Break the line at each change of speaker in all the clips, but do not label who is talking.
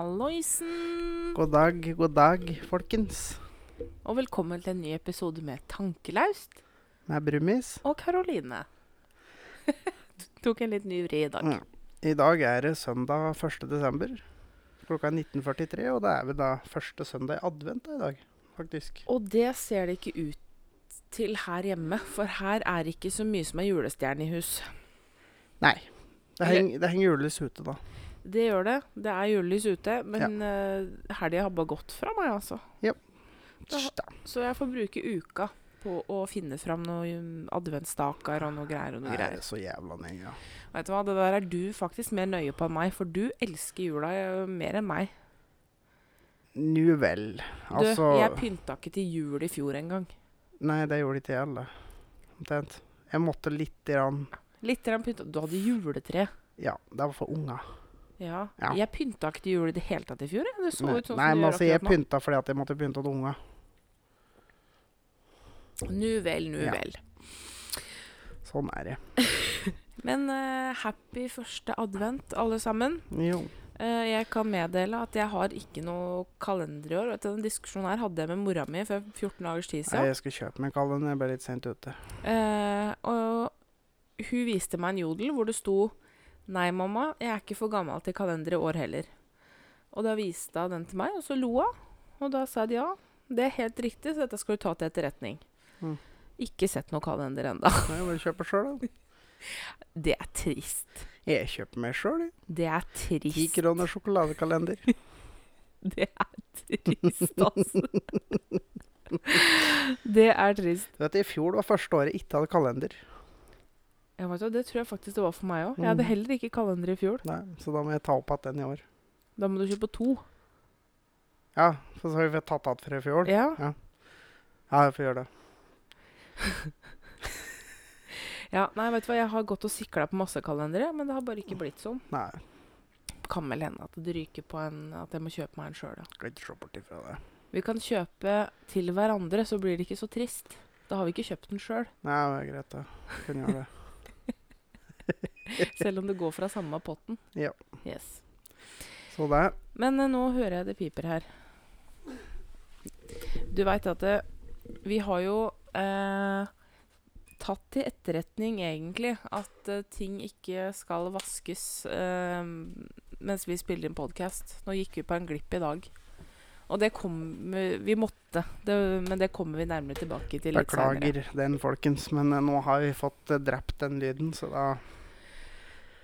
Halloisen,
God dag, god dag, folkens.
og velkommen til en ny episode med Tankelaust
Det er Brumis.
og Karoline. Tok en litt ny vri i dag.
Ja. I dag er det søndag 1. desember. Klokka er 19.43, og det er vel da første søndag i advent da i dag, faktisk.
Og det ser det ikke ut til her hjemme, for her er det ikke så mye som er julestjerne i hus.
Nei. Det, heng, det henger julelys ute, da.
Det gjør det. Det er julelys ute, men ja. helga har bare gått fra meg, altså.
Tss, da.
Så jeg får bruke uka på å finne fram noen adventsstaker og noe greier og noe
Det
greier.
er så jævla nøye. ja.
Vet du hva, det der er du faktisk mer nøye på enn meg, for du elsker jula eh, mer enn meg.
Nu vel.
Du,
Altså
jeg pynta ikke til jul i fjor engang.
Nei, det gjorde ikke jeg heller. Omtrent. Jeg måtte lite grann
Litt grann pynta Du hadde juletre.
Ja, det var for unga.
Ja.
Ja.
Jeg pynta ikke til jul i det hele tatt i fjor. jeg. Det så
Nei,
ut sånn
nei,
som
men
du
altså,
gjør
jeg
akkurat
pynta fordi at jeg måtte pynte til unga.
nå. Nu vel, nu
Ja.
vel.
Sånn er det.
Men eh, happy første advent, alle sammen.
Jo.
Eh, jeg kan meddele at jeg har ikke noe kalender i år. Vet du, Denne diskusjonen her hadde jeg med mora mi for 14 dagers tid
Nei,
siden.
jeg skal kjøpe meg en kalender, jeg ble litt sent ute.
Eh, og hun viste meg en jodel hvor det sto Nei, mamma, jeg er ikke for gammel til kalender i år heller. Og da viste hun den til meg, og så lo hun. Og da sa de ja, det er helt riktig, så dette skal du ta til etterretning.
Mm.
Ikke sett noe kalender enda.
Nei, jeg bare kjøper sjøl, da.
Det er trist.
Jeg kjøper meg sjøl, jeg.
Det er
Ti
trist.
kroner sjokoladekalender.
Det er trist, altså. det er trist.
Du vet, I fjor var første året jeg ikke hadde kalender.
Ja, vet du, hva, det tror jeg faktisk det var for meg òg. Jeg hadde
Mm.
heller ikke kalender i fjor.
Nei, så da må jeg ta opp igjen den i år.
Da må du kjøpe to.
Ja, så så har vi fått tatt igjen fra i fjor.
Ja.
Ja, jeg får gjøre det.
Ja, nei, vet du hva, jeg har gått og sikla på masse kalendere, men det har bare ikke blitt sånn.
Nei,
Kan vel hende at det ryker på en At jeg må kjøpe meg en sjøl, da.
skal ikke se bort ifra det.
Vi kan kjøpe til hverandre, så blir det ikke så trist. Da har vi ikke kjøpt den sjøl,
Nei, det er greit, det. Kunne gjøre det.
selv om det går fra samme potten.
Ja.
Yes.
Så det.
Men eh, nå hører jeg det piper her. Du veit at eh, vi har jo eh, tatt til etterretning, egentlig, at eh, ting ikke skal vaskes eh, mens vi spiller inn podkast. Nå gikk vi på en glipp i dag. Og det kom eh, Vi måtte, det, men det kommer vi nærmere tilbake til litt senere.
Beklager den, folkens, men eh, nå har vi fått eh, drept den lyden, så da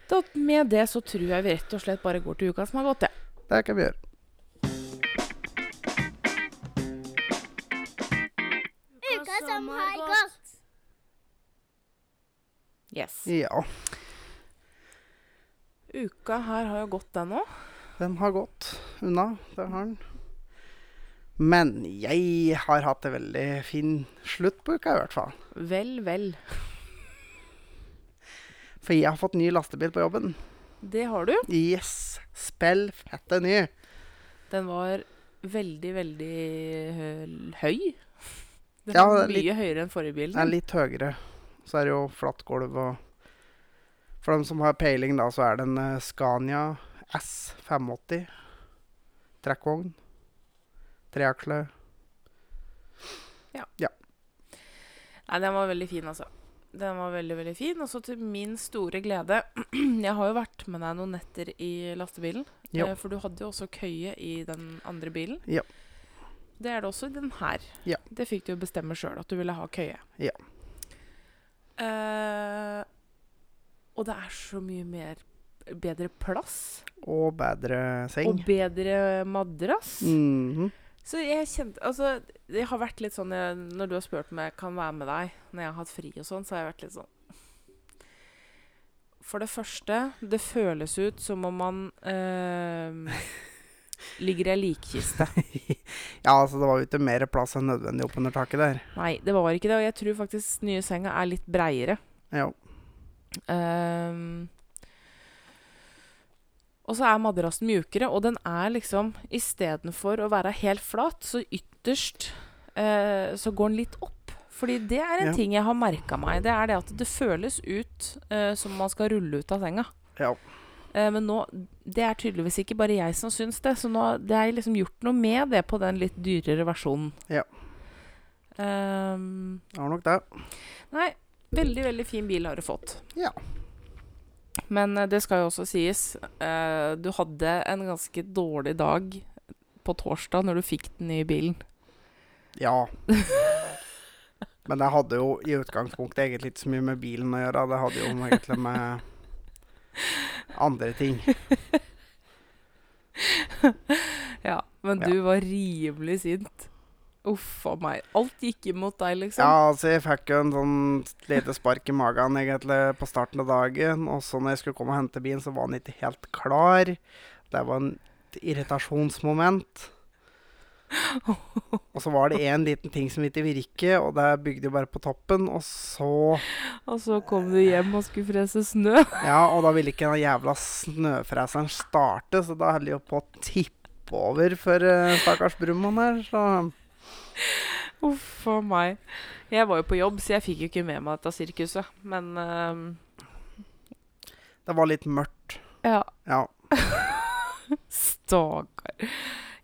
Da, med det så tror jeg vi rett og slett bare går til uka som har gått, jeg.
Det kan vi gjøre.
Uka som har gått.
Yes.
Ja,
Uka her har jo gått, den òg.
den har gått unna. Det har den. Men jeg har hatt en veldig fin slutt på uka, i hvert fall.
Vel, vel.
For jeg har fått ny lastebil på jobben.
Det har du.
Yes! Spill fette ny.
Den var veldig, veldig hø- høy. Den
Ja,
var
det er
mye
litt-
høyere enn forrige
Den er
bilen.
litt høyere. Så er det jo flatt gulv og For dem som har peiling, da, så er det en eh, Scania S 580. Trekkvogn. Treaksle.
Nei, den var veldig fin, altså. Den var veldig, veldig fin. Og så til min store glede Jeg har jo vært med deg noen netter i lastebilen.
Ja.
eh, For du hadde jo også køye i den andre bilen.
Ja.
Det er det også i den her.
Ja.
Det fikk du jo bestemme sjøl, at du ville ha køye.
Ja.
Eh, og det er så mye mer bedre plass.
Og bedre seng.
Og bedre madrass.
Mhm.
Så jeg kjente Altså, det har vært litt sånn jeg, Når du har spurt om jeg kan være med deg når jeg har hatt fri og sånn, så har jeg vært litt sånn For det første, det føles ut som om man eh, ligger i ei likkiste.
Ja, altså, det var jo ikke mer plass enn nødvendig oppunder taket der.
Nei, det var ikke det. Og jeg tror faktisk nye senga er litt breiere.
Ja.
Ehm, og så er madrassen mjukere, og den er liksom Istedenfor å være helt flat, så ytterst eh, så går den litt opp. Fordi det er en
Ja.
ting jeg har merka meg. Det er det at det føles ut eh, som om man skal rulle ut av senga.
ja.
Eh, men nå Det er tydeligvis ikke bare jeg som syns det, så nå det er liksom gjort noe med det på den litt dyrere versjonen.
Ja.
Ehm,
Det var nok det.
nei, veldig, veldig fin bil har du fått.
Ja.
Men eh, det skal jo også sies, eh, du hadde en ganske dårlig dag på torsdag når du fikk den nye bilen.
Ja. Men det hadde jo i utgangspunktet egentlig ikke så mye med bilen å gjøre. Det hadde jo egentlig med andre ting.
Ja, men
Ja.
du var rimelig sint. Uff a meg. Alt gikk imot deg, liksom.
Ja, altså jeg fikk jo en sånn lite spark i magen egentlig på starten av dagen. Og så når jeg skulle komme og hente bilen, så var den ikke helt klar. Det var en et irritasjonsmoment. Og så var det én liten ting som ikke virket, og det bygde jo bare på toppen. Og så
Og så kom du hjem og skulle frese snø.
Ja, og da ville ikke den jævla snøfreseren starte, så da holder jeg jo på å tippe over for eh, stakkars Brumman her, så
Uff a meg. Jeg var jo på jobb, så jeg fikk jo ikke med meg dette sirkuset. Men ehm,
det var litt mørkt.
ja,
Ja.
stakkar.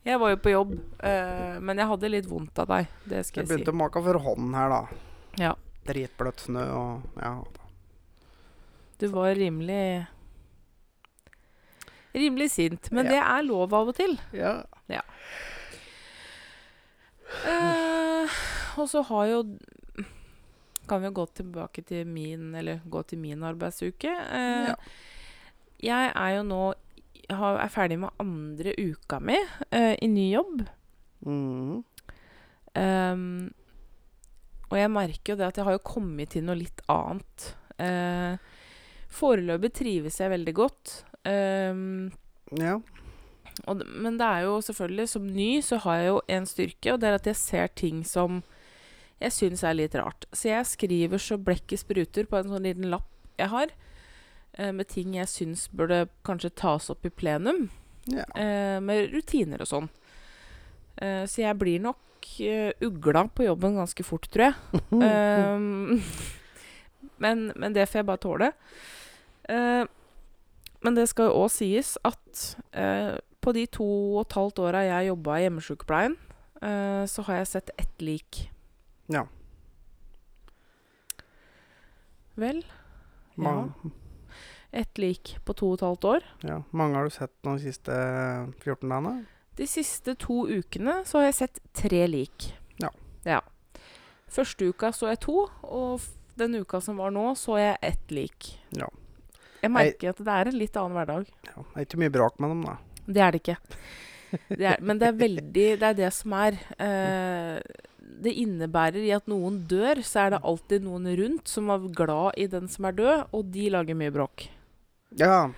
Jeg var jo på jobb, eh, men jeg hadde litt vondt av deg. Det
Jeg
skal jeg
begynte å make for hånden her, da.
si. Ja,
Dritbløtt snø og Ja.
du var rimelig Rimelig sint. Men
Ja.
det er lov av og til.
ja.
Eh, og så har jo Kan vi jo gå tilbake til min Eller gå til min arbeidsuke. Eh,
Ja.
Jeg er jo nå har, er ferdig med andre uka mi eh, i ny jobb.
Mhm.
Ehm, og jeg merker jo det at jeg har jo kommet til noe litt annet. Eh, foreløpig trives jeg veldig godt. Ehm,
ja.
og, d- men det er jo selvfølgelig, som ny, så har jeg jo en styrke, og det er at jeg ser ting som jeg syns er litt rart. Så jeg skriver så blekket spruter på en sånn liten lapp jeg har, eh, med ting jeg syns burde kanskje tas opp i plenum,
Ja.
eh, med rutiner og sånn. Eh, så jeg blir nok eh, ugla på jobben ganske fort, tror jeg. Ehm, men, men det får jeg bare tåle. Eh, men det skal jo òg sies at eh, på de to og et halvt åra jeg jobba i hjemmesykepleien, eh, så har jeg sett ett lik.
Ja.
Vel,
Mange,
ett lik på to og et halvt år.
ja. Mange har du sett nå de siste 14 dagene?
De siste to ukene så har jeg sett tre lik.
Ja.
ja. Første uka så jeg to, og f- den uka som var nå, så jeg ett lik.
Ja.
Jeg merker at det er en litt annen hverdag.
Ja. Det er ikke mye bråk med dem, da.
Det er det ikke. Det er, men det er veldig Det er det som er. Eh, det innebærer i at noen dør, så er det alltid noen rundt som er glad i den som er død, og de lager mye bråk.
Ja.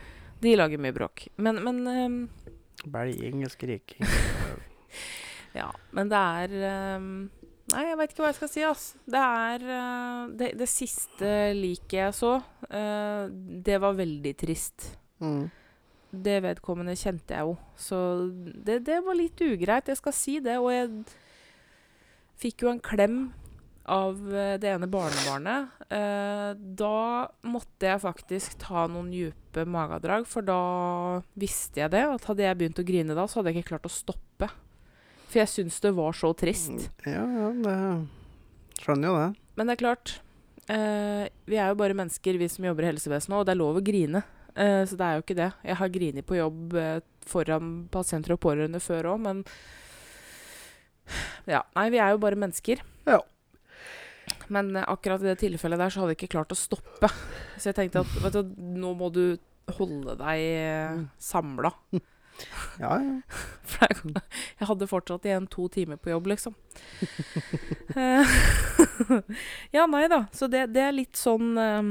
De lager mye bråk. Men, men ehm,
Belging og skriking.
Ja, men det er ehm, Nei, jeg veit ikke hva jeg skal si, ass. Det er eh, det, det siste liket jeg så, eh, det var veldig trist.
Mm.
Det vedkommende kjente jeg jo, så det, det var litt ugreit. Jeg skal si det, og jeg fikk jo en klem av eh, det ene barnebarnet. Eh, da måtte jeg faktisk ta noen djupe magedrag, for da visste jeg det. At hadde jeg begynt å grine da, så hadde jeg ikke klart å stoppe. For jeg syns det var så trist.
Mm. Ja, ja, det Skjønner jo det.
Men det er klart, eh, vi er jo bare mennesker, vi som jobber i helsevesenet, og det er lov å grine. Eh, så det er jo ikke det. Jeg har grinet på jobb eh, foran pasienter og pårørende før òg, men Ja. Nei, vi er jo bare mennesker.
Ja.
Men eh, akkurat i det tilfellet der så hadde jeg ikke klart å stoppe. Så jeg tenkte at vet du, nå må du holde deg eh, samla.
Ja, ja.
For jeg, kan- jeg hadde fortsatt igjen to timer på jobb, liksom. Eh, ja, nei da. Så det, det er litt sånn eh,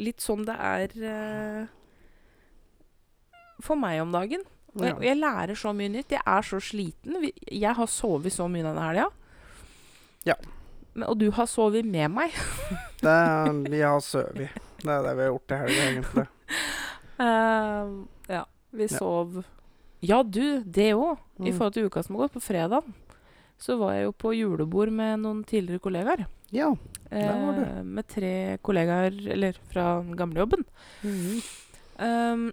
Litt sånn det er eh, for meg om dagen. Og jeg, og
ja.
jeg lærer så mye nytt. Jeg er så sliten. Vi- Jeg har sovet så mye denne helga.
Ja.
Men, og du har sovet med meg.
Det er, vi har sovet. Det er det vi har gjort i helga, egentlig.
Eh, ja. Vi
Ja.
sov Ja, du, det òg. I
Mm.
forhold til uka som har gått, på fredag, så var jeg jo på julebord med noen tidligere kollegaer.
Ja. Der var du.
Eh, med Mm-hmm. tre kollegaer eller, fra gamlejobben. Um,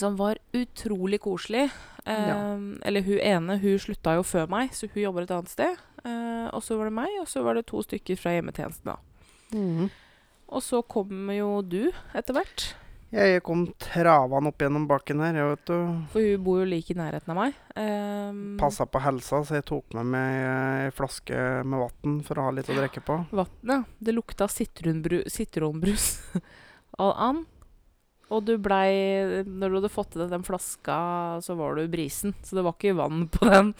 som var utrolig koselig. Eh,
Ja.
Eller hun ene, hun slutta jo før meg, så hun jobber et annet sted. Eh, og så var det meg, og så var det to stykker fra hjemmetjenesten, da. Mm-hmm. Og så kommer jo du etter hvert.
Jeg kom travand opp gjennom bakken her, jeg vet du.
For hun bor jo like i nærheten av meg. Eh,
Passa på helsa, så jeg tok med meg eh, ei flaske med vann for å ha litt å drikke på.
Vannet. Det lukta sitronbru sitronbrus av an. Og du blei Når du hadde fått i deg den flaska, så var du brisen. Så det var ikke vann på den.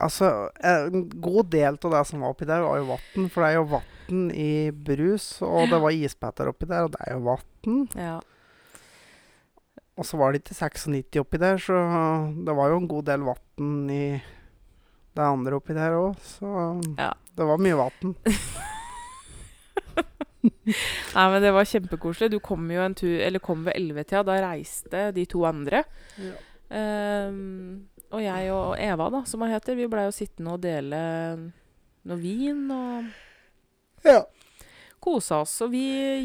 Altså, en god del av det som var oppi der, var jo vann. For det er jo vann i brus, og det var isbiter oppi der, og det er jo vann.
Ja.
Og så var det ikke 96 oppi der, så det var jo en god del vann i det andre oppi der òg, så
Ja.
det var mye vann.
Nei, men det var kjempekoselig. Du kom jo en tur Eller kom ved 11-tida. Da reiste de to andre.
Ja.
Ehm, og jeg og Eva, da, som hun heter, vi blei jo sittende og dele noe vin og
Ja.
kosa oss. Og vi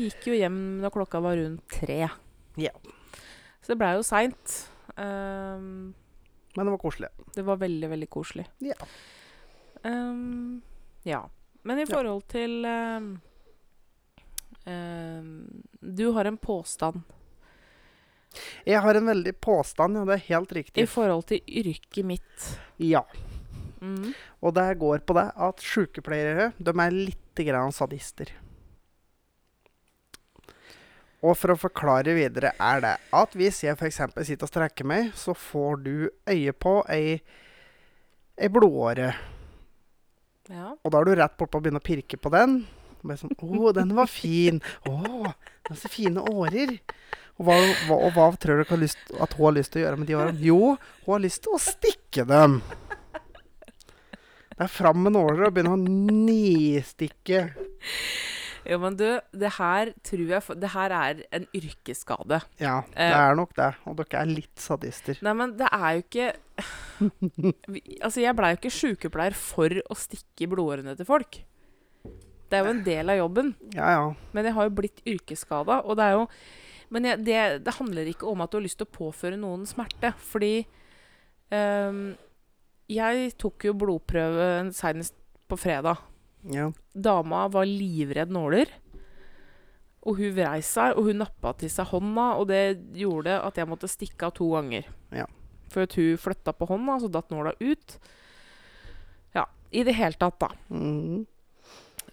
gikk jo hjem da klokka var rundt tre.
Ja.
Så det blei jo seint. Ehm,
Men det var koselig.
det var veldig, veldig koselig.
Ja.
Ehm, ja. Men i
Ja.
forhold til ehm, ehm, Du har en påstand
Jeg har en veldig påstand, ja. Det er helt
i
riktig.
forhold til yrket mitt.
Ja.
Mm.
Og det går på det at sykepleiere de er litt grann sadister. Og for å forklare videre er det at hvis jeg f.eks. sitter og strekker meg, så får du øye på ei, ei blodåre.
Ja.
Og da er du rett bortpå å begynne å pirke på den. Og bare sånn 'Å, den var fin. Å, den har så fine årer.' Og hva, hva, og hva tror dere har lyst, at hun har lyst til å gjøre med de årene? Jo, hun har lyst til å stikke dem. Det er fram med nåler og begynne å nistikke.
Jo, men du, det her tror jeg for- Det her er en yrkesskade.
Ja, det er nok det. Og dere er litt sadister.
Nei, men det er jo ikke Vi- Altså, jeg blei jo ikke sykepleier for å stikke i blodårene til folk. Det er jo en del av jobben.
Ja, ja.
Men jeg har jo blitt yrkesskada, og det er jo Men jeg, det, det handler ikke om at du har lyst til å påføre noen smerte, fordi ehm, Jeg tok jo blodprøve senest på fredag.
ja.
Dama var livredd nåler. Og hun vrei seg, og hun nappa til seg hånda, og det gjorde at jeg måtte stikke av to ganger.
Ja.
For at hun flytta på hånda, så datt nåla ut. Ja, i det hele tatt, da.
Mm.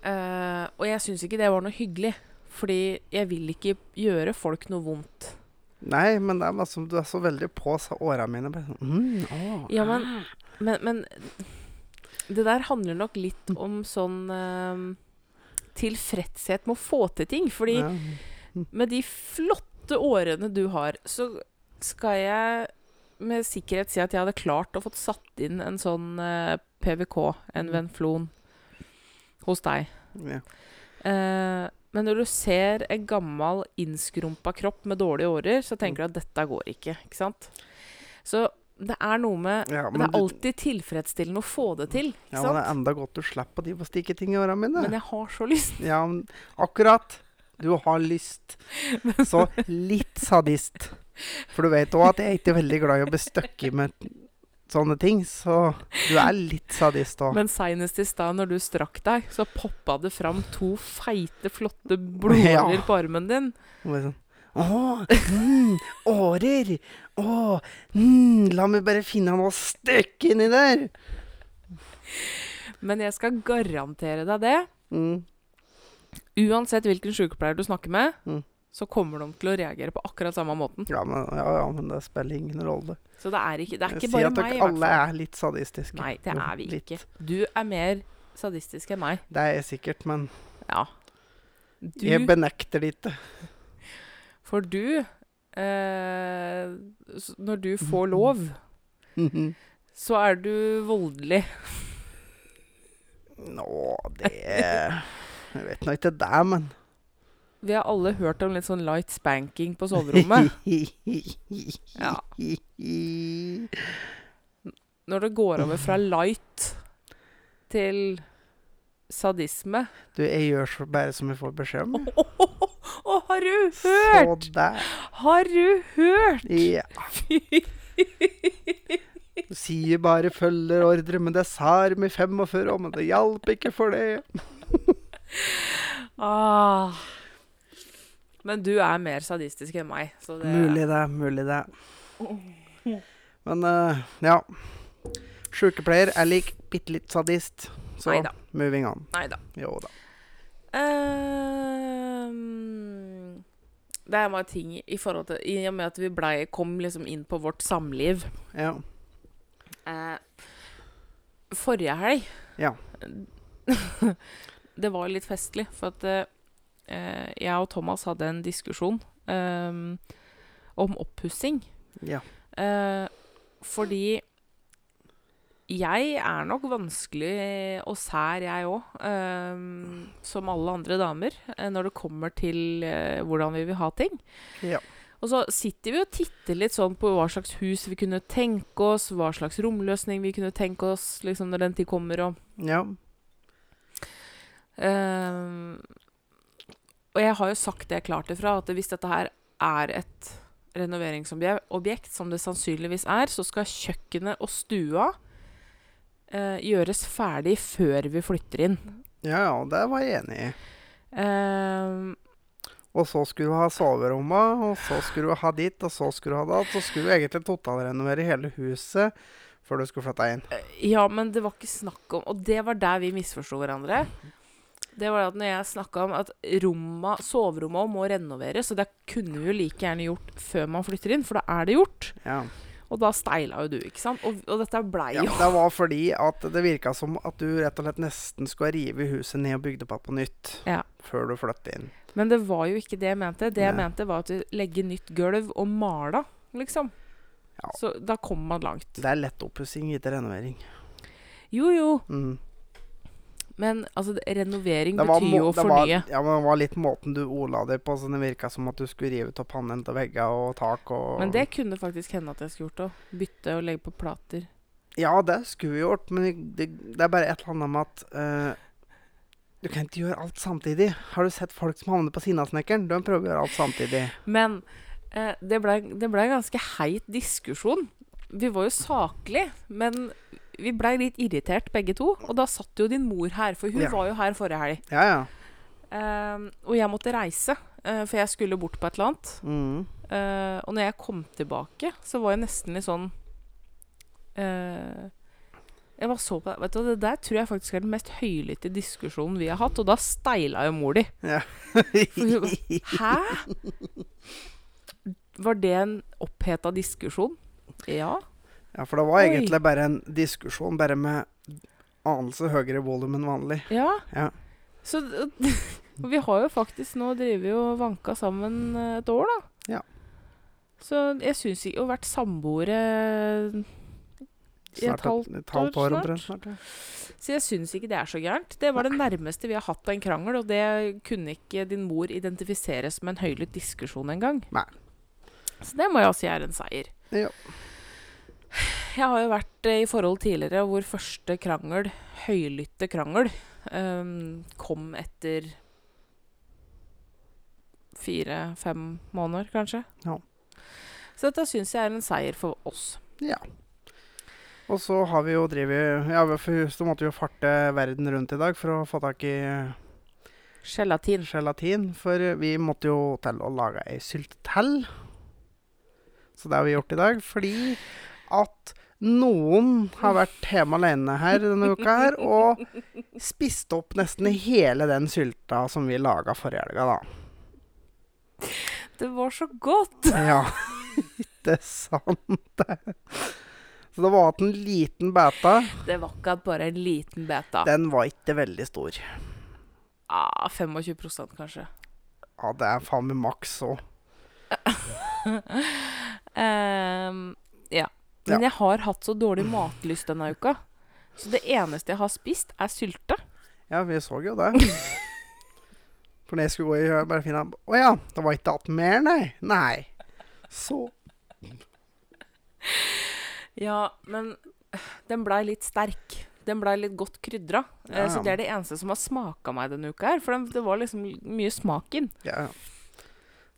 Eh, og jeg syns ikke det var noe hyggelig. Fordi jeg vil ikke gjøre folk noe vondt.
Nei, men det er bare som du er så veldig på sa åra mine. Bare sånn, mm, å.
Ja, men, men, men det der handler nok litt om sånn eh, tilfredshet med å få til ting. Fordi
Ja.
Med de flotte årene du har, så skal jeg med sikkerhet si at jeg hadde klart å fått satt inn en sånn eh, PVK,
Mm.
en Venflon, hos deg.
Ja.
Eh, men når du ser en gammel, innskrumpa kropp med dårlige årer, så tenker du at dette går ikke, ikke sant? Så det er noe med
Ja,
Det
men
er
du-
alltid tilfredsstillende å få det til,
Ja,
ikke
men det er
sant?
enda godt du slipper å drive og stikke ting i åra mine.
Men jeg har så lyst.
Ja, men akkurat. Du har lyst. Så litt sadist. For du vet òg at jeg er ikke veldig glad i å bli støkket med sånne ting, så du er litt sadist òg.
Men seinest i stad, når du strakk deg, så poppa det fram to feite, flotte blodårer
Ja.
på armen din.
Sånn, å, mm, årer. Å, mm, la meg bare finne noe å støkke inni der.
Men jeg skal garantere deg det.
Mm,
Uansett hvilken sykepleier du snakker med,
Mm.
så kommer de til å reagere på akkurat samme måten.
ja, men, ja, ja, men det spiller ingen rolle.
Så det er ikke, det er
Jeg
ikke
sier
bare
at
meg,
dere
i hvert
alle
fall.
er litt sadistiske.
Nei, det
Jo,
er vi
litt.
ikke. Du er mer sadistisk enn meg.
Det er jeg sikkert, men
Ja. Du,
jeg benekter det ikke.
for du eh, s- Når du får
Mm.
lov,
Mhm.
så er du voldelig.
Nå, det Jeg vet nå ikke det, men
Vi har alle hørt om litt sånn light spanking på soverommet. Ja. Når det går over fra light til sadisme
Du, jeg gjør så bare som jeg får beskjed om. jeg.
Å, har du
Så
hørt?
der.
Har du hørt?
Ja. Du sier bare 'følger ordre', men det sa de i 45, og men det hjalp ikke for det.
Ah. Men du er mer sadistisk enn meg, så det
Mulig det, mulig det. Men eh, ja. Sjukepleier er lik bitte litt sadist, så
Neida.
moving on.
Neida.
Jo da.
Ehm, det er bare ting i forhold til I og med at vi blei, kom liksom inn på vårt samliv
Ja.
eh, Forrige helg
Ja.
Det var litt festlig, for at eh, eh, jeg og Thomas hadde en diskusjon ehm, om oppussing.
ja.
Eh, fordi jeg er nok vanskelig og sær, jeg òg, som alle andre damer, eh, når det kommer til eh, hvordan vi vil ha ting.
Ja.
Og så sitter vi og titter litt sånn på hva slags hus vi kunne tenke oss, hva slags romløsning vi kunne tenke oss liksom når den tid kommer. og
Ja.
Ehm, og jeg har jo sagt det klart ifra, at hvis dette her er et renoveringsobjekt, som det sannsynligvis er, så skal kjøkkenet og stua eh, gjøres ferdig før vi flytter inn.
Ja, ja, det var jeg enig i.
Ehm,
Og så skulle du ha soverommet, og så skulle du ha dit, og så skulle du ha dat. Så skulle du egentlig totalrenovere hele huset før du skulle flytte inn.
ja, men det var ikke snakk om Og det var der vi misforsto hverandre. Det var at når jeg snakka om at romma, soveromma må renoveres, og det kunne vi jo like gjerne gjort før man flytter inn, for da er det gjort.
Ja.
Og da steila jo du, ikke sant? Og, og dette blei
ja.
jo
Det var fordi at det virka som at du rett og slett nesten skulle rive huset ned og bygd det på på nytt
Ja.
før du flyttet inn.
Men det var jo ikke det jeg mente. Det jeg
Nei.
mente, var at du legger nytt gulv og maler, liksom.
Ja.
Så da kommer man langt.
Det er lett oppussing, ikke renovering.
Jo, jo,
Mm.
men altså, det- renovering
Det var
betyr
må-
jo å
det var,
fornye.
ja, men det var litt måten du ordla det på, så det virka som at du skulle rive av pannen til veggene og tak og
Men det kunne faktisk hende at jeg skulle gjort òg. Bytte og legge på plater.
Ja, det skulle vi gjort, men det, det er bare et eller annet med at eh, Du kan ikke gjøre alt samtidig. Har du sett folk som havner på Sinnasnekkeren? De prøver å gjøre alt samtidig.
Men eh, det blei ble en ganske heit diskusjon. Vi var jo saklige, men vi blei litt irritert begge to. Og da satt jo din mor her, for hun
Ja.
var jo her forrige helg.
Ja, ja.
Ehm, og jeg måtte reise, eh, for jeg skulle bort på et eller annet.
Mm.
Eh, og når jeg kom tilbake, så var jeg nesten litt sånn eh, Jeg bare så på deg Vet du, hva, Det der tror jeg faktisk er den mest høylytte diskusjonen vi har hatt, og da steila jo mor di. For hun bare, Hæ? Var det en oppheta diskusjon? Ja.
ja, for det var
Oi.
egentlig bare en diskusjon, bare med anelse høyere volum enn vanlig.
Ja.
Ja.
Så d- og vi har jo faktisk nå drevet og vanka sammen eh, et år, da.
Ja.
Så jeg syns ikke Å vært samboere I et halvt år snart?
snart ja.
Så jeg syns ikke det er så gærent. Det var det nærmeste vi har hatt av en krangel, og det kunne ikke din mor identifisere som en høylytt diskusjon engang.
Nei.
Så det må jeg si er en seier.
Ja.
Jeg har jo vært eh, i forhold tidligere hvor første krangel, høylytte krangel, ehm, kom etter fire-fem måneder, kanskje.
Ja.
Så dette syns jeg er en seier for oss.
Og så har vi jo drevet Ja, for så måtte vi jo farte verden rundt i dag for å få tak i
Gelatin.
gelatin, for vi måtte jo til å lage ei sylt til. Så det har vi gjort i dag, fordi at noen har vært hjemme alene her denne uka her, og spist opp nesten hele den sylta som vi laga forrige helga, da.
Det var så godt!
Ja, ikke sant? Så det var at en liten beta,
Det var ikke at bare en liten beta.
den var ikke veldig stor.
Ah, 25 kanskje.
Ja, det er faen meg maks òg.
Ehm, ja. Men jeg har hatt så dårlig matlyst denne uka. Så det eneste jeg har spist, er sylte.
Ja, vi så jo det. For når jeg skulle gå i jeg bare finne Å ja, det var ikke igjen mer, nei. Nei. Så
Ja, men den blei litt sterk. Den blei litt godt krydra. Eh,
Ja, ja.
Så det er det eneste som har smaka meg denne uka her. For den, det var liksom mye smak i den.
ja. ja.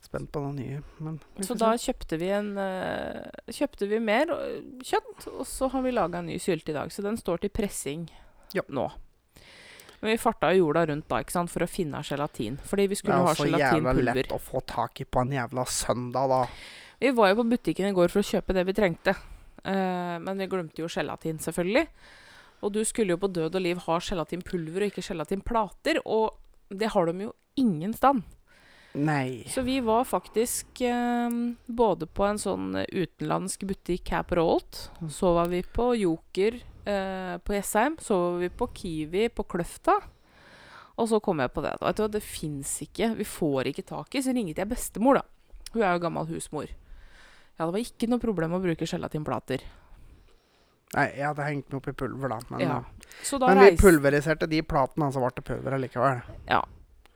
Spent på den nye, men
Så da kjøpte vi, en, eh, kjøpte vi mer eh, kjøtt, og så har vi laga en ny sylte i dag. Så den står til pressing
Ja.
nå. Men vi farta jo jorda rundt da ikke sant, for å finne gelatin. Fordi vi
det
skulle
er
ha
jo så jævla
gelatinpulver.
lett å få tak i på en jævla søndag, da.
Vi var jo på butikken i går for å kjøpe det vi trengte. Eh, men vi glemte jo gelatin, selvfølgelig. Og du skulle jo på død og liv ha gelatinpulver og ikke gelatinplater. Og det har de jo ingen stand.
Nei.
Så vi var faktisk eh, både på en sånn utenlandsk butikk her på Rålt. Så var vi på Joker eh, på Jessheim. Så var vi på Kiwi på Kløfta. Og så kom jeg på det. Da. Vet du hva, det fins ikke. Vi får ikke tak i. Så ringte jeg bestemor, da. Hun er jo gammel husmor. Ja, det var ikke noe problem å bruke gelatinplater.
Nei, jeg hadde hengt meg opp i pulver, da. Men,
Ja, Så da
men vi
reis-
pulveriserte de platene, så ble det pulver allikevel.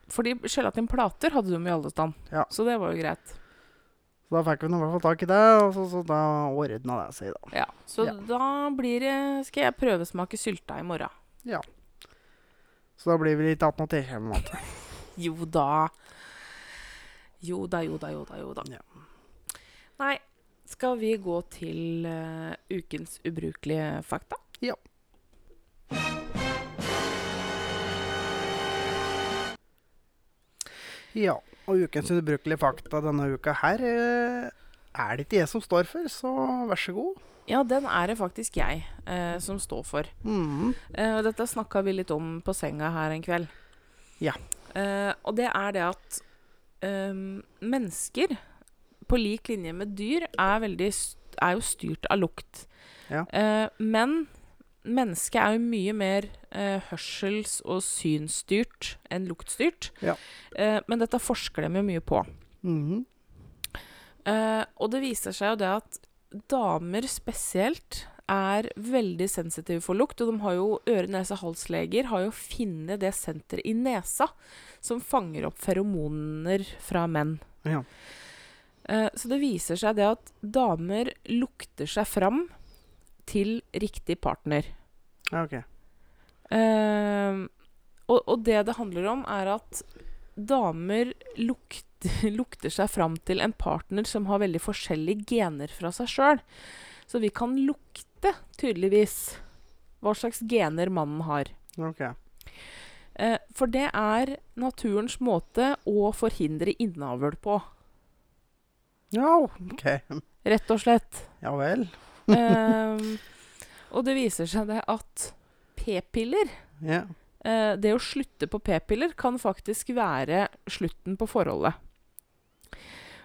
Fordi gelatinplater hadde de i alle stand.
Ja.
Så det var jo greit.
Så da fikk vi nå i hvert fall tak i det, og så, så da ordna det seg, da.
Ja, Så
Ja.
da blir det Skal jeg prøvesmake sylta i morgen?
Så da blir vi litt attåt til eller noe.
Jo da. Jo da, jo da, jo da. Jo da.
Ja.
Nei, skal vi gå til eh, ukens ubrukelige fakta?
Ja. Ja, og ukens ubrukelige fakta denne uka her eh, er det ikke jeg som står for, så vær så god.
Ja, den er det faktisk jeg eh, som står for.
Mhm.
Eh, og dette snakka vi litt om på senga her en kveld.
Ja.
Eh, og det er det at eh, mennesker, på lik linje med dyr, er, veldig, st- er jo styrt av lukt.
Ja.
Eh, men mennesket er jo mye mer eh, hørsels- og synsstyrt enn luktstyrt.
Ja.
Eh, men dette forsker de jo mye på.
Mhm.
Eh, og det viser seg jo det at damer spesielt er veldig sensitive for lukt, og de har jo øre-nese-halsleger har jo funnet det senteret i nesa som fanger opp feromoner fra menn.
Ja.
Eh, så det viser seg det at damer lukter seg fram til riktig partner.
Ja, ok.
Eh, og, og det det handler om, er at damer lukter, lukter seg fram til en partner som har veldig forskjellige gener fra seg sjøl. Så vi kan lukte, tydeligvis, hva slags gener mannen har.
ok.
Eh, for det er naturens måte å forhindre innavl på,
Ja, ok.
rett og slett.
Ja vel.
Eh, og det viser seg det at p-piller
Ja.
Eh, det å slutte på p-piller kan faktisk være slutten på forholdet.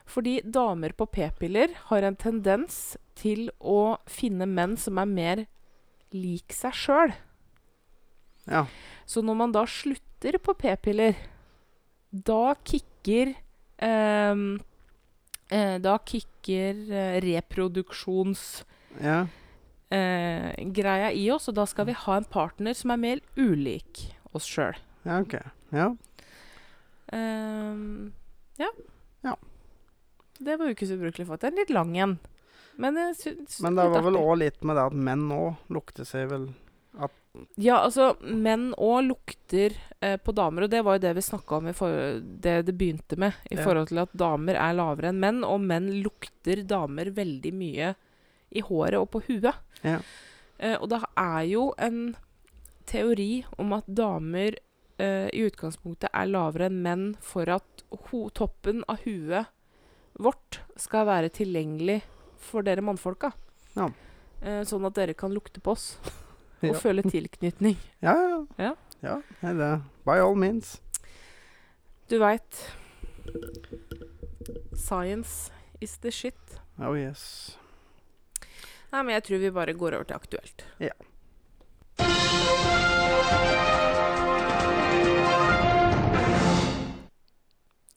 Fordi damer på p-piller har en tendens til å finne menn som er mer lik seg sjøl.
ja.
Så når man da slutter på p-piller, da kicker ehm, eh, Da kicker eh, reproduksjonsgreia
Ja.
eh, greia i oss, og da skal vi ha en partner som er mer ulik oss sjøl.
Ja, ok. Ja.
Ehm, ja.
Ja.
Det var ukens ubrukelige fakta. En litt lang en. Men, jeg sy- syns
Men
den
det
var
var vel
artig.
òg litt med det at menn òg lukter seg vel
Ja, altså, menn òg lukter eh, på damer, og det var jo det vi snakka om i for det det begynte med, i
Ja.
forhold til at damer er lavere enn menn, og menn lukter damer veldig mye i håret og på huet.
Ja.
Eh, og det er jo en teori om at damer eh, i utgangspunktet er lavere enn menn for at ho toppen av huet vårt skal være tilgjengelig for dere mannfolka.
Ja.
Eh, sånn at dere kan lukte på oss og
Ja.
føle tilknytning.
Ja, ja.
Ja.
ja nei, det, by all means.
Du veit. Science is the shit.
Oh yes.
Nei, men jeg tror vi bare går over til aktuelt.
Ja.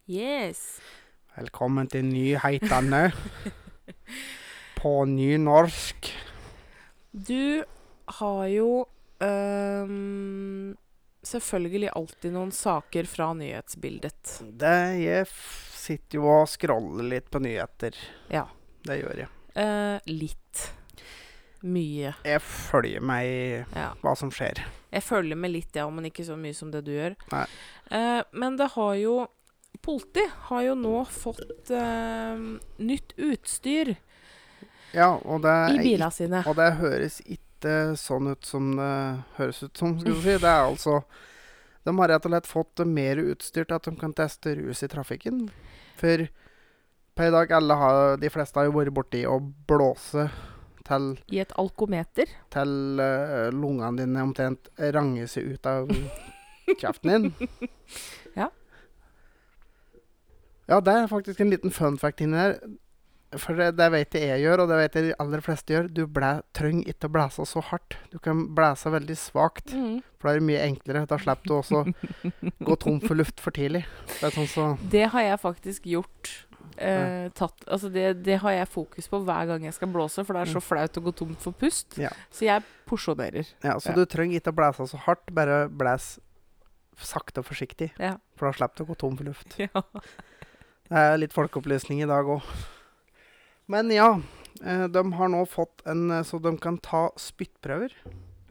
Yes.
Velkommen til nyhetene på nynorsk.
Du har jo øhm, selvfølgelig alltid noen saker fra nyhetsbildet.
Det, jeg f- sitter jo og scroller litt på nyheter.
Ja.
Det gjør jeg.
Eh, litt. Mye.
Jeg følger med i
Ja.
hva som skjer.
Jeg følger med litt, ja, men ikke så mye som det du gjør.
Nei.
Eh, men det har jo politi har jo nå fått eh, nytt utstyr
Ja, og det,
i
er
bilene sine.
ikke- og det høres ikke sånn ut som det høres ut som, skal du si. Det er altså De har rett og slett fått mer utstyr til at de kan teste rus i trafikken. For på i dag alle har, De fleste har jo vært borti å blåse til,
I et alkometer.
til eh, lungene dine omtrent ranger seg ut av kjeften din.
Ja.
Ja, det er faktisk en liten fun fact inni her. For det, det vet jeg jeg gjør, og det vet jeg de aller fleste gjør. Du blæ, trenger ikke å blæse så hardt. Du kan blæse veldig svakt,
Mhm.
for det er mye enklere. Da slipper du også gå tom for luft for tidlig. Det er sånn så
Det har jeg faktisk gjort. eh, tatt, altså det, det har jeg fokus på hver gang jeg skal blåse, for det er så flaut å gå tomt for pust.
Ja. Så,
Så jeg porsjonerer.
ja, så
Ja.
du trenger ikke å blæse så hardt, bare blæs sakte og forsiktig.
Ja.
For da slipper du å gå tom for luft.
Ja.
Det er litt folkeopplysning i dag òg. Men ja, eh, de har nå fått en eh, så de kan ta spyttprøver.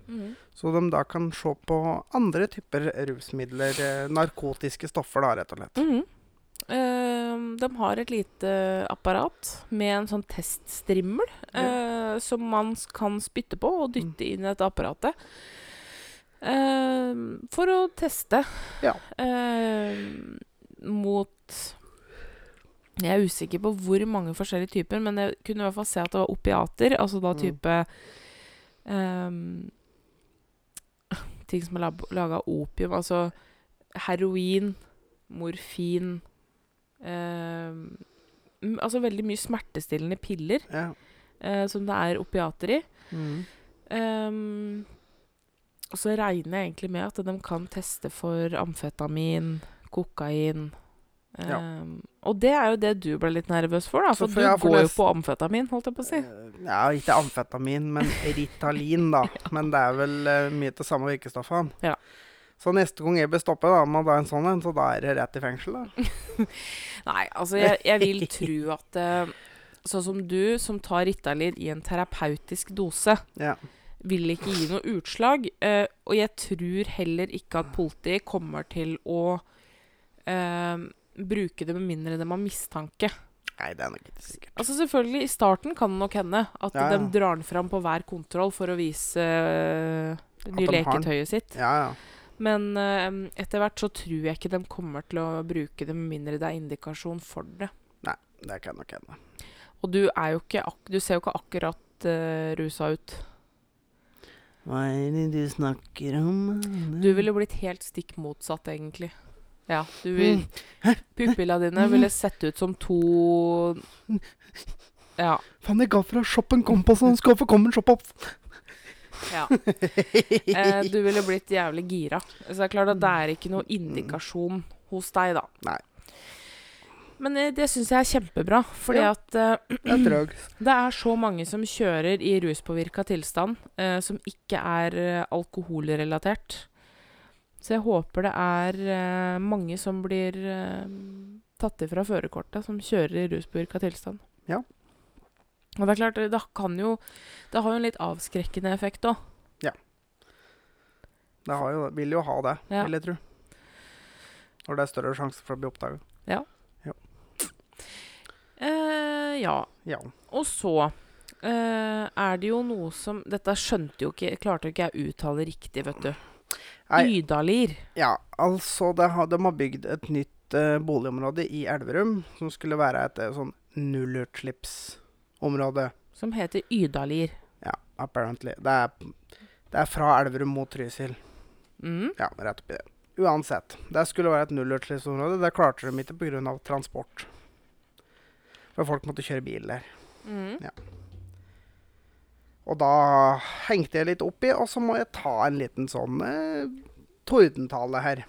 Mhm.
Så de da kan se på andre typer rusmidler, eh, narkotiske stoffer, da, rett og slett.
Mhm. Eh, de har et lite apparat med en sånn teststrimmel eh, som man s- kan spytte på og dytte inn i dette apparatet. eh, for å teste
Ja.
eh, mot Jeg er usikker på hvor mange forskjellige typer, men jeg kunne i hvert fall se at det var opiater. Altså da
Mm.
type eh, Ting som er laga av opium. Altså heroin, morfin eh, m- Altså veldig mye smertestillende piller
Ja.
eh, som det er opiater i.
Mm.
Ehm, og så regner jeg egentlig med at de kan teste for amfetamin, kokain
Ja.
ehm, Og det er jo det du ble litt nervøs for, da. For,
Så for
du
jeg får
går jo
nest-
på amfetamin, holdt jeg på å si.
Eh, Ja, ikke amfetamin, men Ritalin, da. Men det er vel eh, mye til samme virkestoffene.
Ja.
Så neste gang jeg blir stoppet da, med da en sånn en, så da er det rett i fengsel,
Mm.
da.
Nei, altså jeg, jeg vil tro at eh, sånn som du, som tar Ritalin i en terapeutisk dose,
Ja.
vil ikke gi noe utslag. eh, og jeg tror heller ikke at politiet kommer til å eh, bruke det med mindre de har mistanke.
Nei, det er nok ikke sikkert.
Altså selvfølgelig, i starten kan det nok hende at
Ja, ja.
de drar den fram på hver kontroll for å vise eh, det nye
de har den.
leketøyet sitt.
Ja, ja.
Men eh, etter hvert så tror jeg ikke de kommer til å bruke det med mindre det er indikasjon for det.
Det kan nok hende.
Og du er jo ikke ak Du ser jo ikke akkurat eh, rusa ut.
Hva er det du snakker om?
Du ville blitt helt stikk motsatt, egentlig. Ja, du vil
Mm.
Pupilla dine ville sett ut som to Ja.
Faen, jeg ga fra shoppen kompass, og han skal få komme en shopp opp.
ja. Eh, du ville blitt jævlig gira. Så det er klart at det er ikke noe indikasjon hos deg, da.
Mm. Nei.
Men eh, det syns jeg er kjempebra, fordi
Ja.
at eh,
Jeg tror jeg.
Det er så mange som kjører i ruspåvirka tilstand eh, som ikke er eh, alkoholrelatert. Så jeg håper det er eh, mange som blir eh, tatt ifra førerkortet, som kjører i ruspåvirka tilstand.
Ja.
Og det er klart, det kan jo Det har jo en litt avskrekkende effekt òg.
Det har jo, vil jo ha det,
Ja.
vil jeg tro. Når det er større sjanse for å bli oppdaget.
Eh, ja.
Ja.
Og så eh, er det jo noe som Dette skjønte jo ikke Klarte jo ikke jeg å uttale riktig, vet du.
Nei,
Ydalir.
ja, altså, det har, de har bygd et nytt eh, boligområde i Elverum, som skulle være et eh, sånn nullutslippsområde,
Som heter Ydalir.
apparently. Det er, det er fra Elverum mot Trysil.
Mm.
Ja, rett oppi det. Uansett, det skulle være et nullutslippsområde. Det klarte de ikke pga. transport. For folk måtte kjøre bil der.
Mm.
Og da hengte jeg litt oppi, og så må jeg ta en liten sånn eh, tordentale her.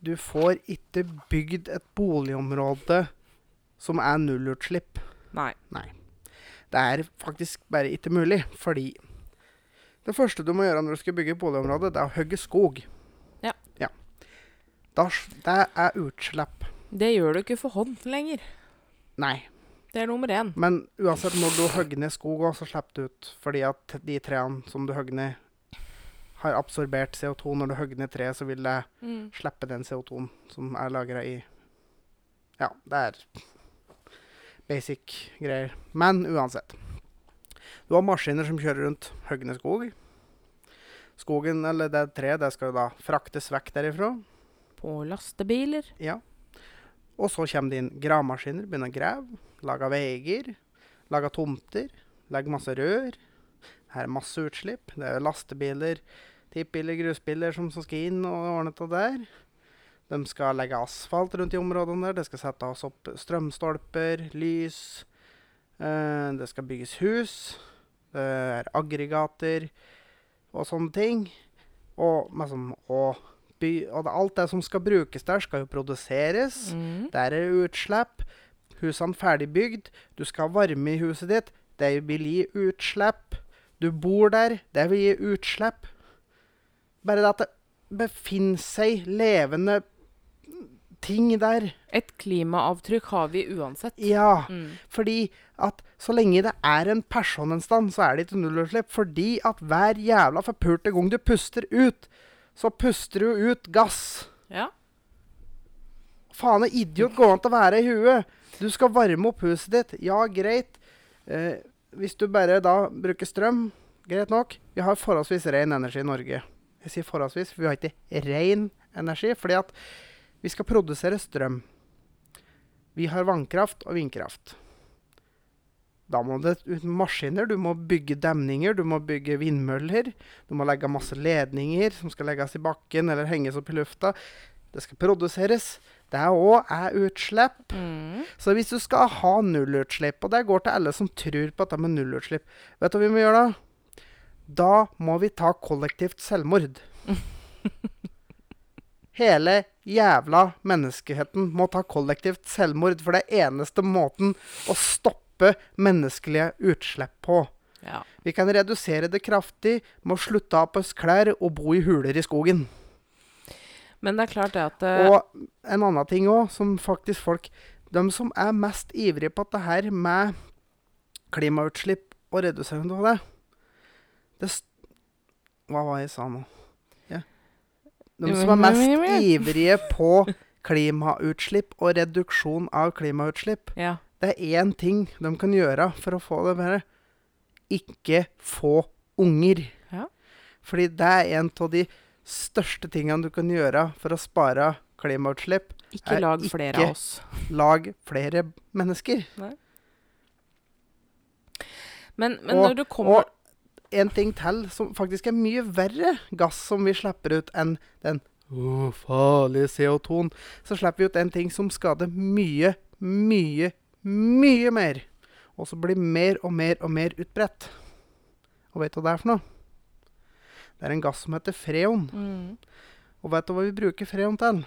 Du får ikke bygd et boligområde som er nullutslipp.
Nei.
Det er faktisk bare ikke mulig, fordi det første du må gjøre når du skal bygge et boligområde, det er å hogge skog.
Ja.
Da, s- det er utslipp.
Det gjør du ikke for hånd lenger.
Nei,
Det er nummer én.
men uansett når du hogger ned skog, også, så slipper du ut fordi at de trærne som du hogger ned, har absorbert CO2. Når du hogger ned treet, så vil det
Mm.
slippe den CO2-en som er lagra i Ja, det er basic greier. Men uansett. Du har maskiner som kjører rundt høgne skog. Skogen, eller det treet, det skal jo da fraktes vekk derifra.
På lastebiler.
Ja. Og så kommer det inn gravemaskiner, begynner å grave, lage veier, lage tomter, legge masse rør. Her er masse utslipp. Det er lastebiler, tippbiler, grusbiler som, som skal inn og ordne det der. De skal legge asfalt rundt i områdene der. Det skal settes opp strømstolper, lys. eh, Det skal bygges hus. Det er aggregater og sånne ting. Og, liksom, og by, og det, alt det som skal brukes der, skal jo produseres.
Mm.
Der er det utslipp. Husene ferdigbygd. Du skal ha varme i huset ditt. Det vil gi utslipp. Du bor der. Det vil gi utslipp. Bare det at det befinner seg levende ting der.
Et klimaavtrykk har vi uansett.
Ja.
Mm.
Fordi at så lenge det er en person en stand, så er det ikke nullutslipp. Fordi at hver jævla forpulte gang du puster ut, så puster du ut gass.
Ja.
Faen, en idiot går an til å være i huet. Du skal varme opp huset ditt. Ja, greit. Eh, hvis du bare da bruker strøm, greit nok. Vi har forholdsvis ren energi i Norge. Jeg sier forholdsvis, for vi har ikke ren energi. Fordi at vi skal produsere strøm. Vi har vannkraft og vindkraft. Da må det ut maskiner, du må bygge demninger, du må bygge vindmøller. Du må legge masse ledninger som skal legges i bakken eller henges opp i lufta. Det skal produseres. Det òg er utslipp.
Mm.
Så hvis du skal ha nullutslipp, og det går til alle som tror på dette med nullutslipp, vet du hva vi må gjøre da? Da må vi ta kollektivt selvmord. Hele jævla menneskeheten må ta kollektivt selvmord, for det er eneste måten å stoppe menneskelige utslipp på.
ja.
Vi kan redusere det kraftig med å slutte å ha på oss klær og bo i huler i skogen.
Men det er klart det at eh,
Og en annen ting òg, som faktisk folk De som er mest ivrige på dette her med klimautslipp og redusering av det, det s- Hva var det jeg sa nå? Ja. De som er mest ivrige på klimautslipp og reduksjon av klimautslipp,
Ja.
det er én ting de kan gjøre for å få det bedre. Ikke få unger.
Ja.
Fordi det er en av de største tingene du kan gjøre for å spare klimautslipp.
Ikke
er
lag flere
ikke-
av oss.
Lag flere mennesker.
Men, men
Og-
når du kommer
Og en ting til som faktisk er mye verre gass som vi slipper ut enn den «Åh, farlige CO2-en, så slipper vi ut en ting som skader mye, mye, mye mer. Og som blir mer og mer og mer utbredt. Og vet du hva det er for noe? Det er en gass som heter freon.
mm.
Og vet du hva vi bruker freon til?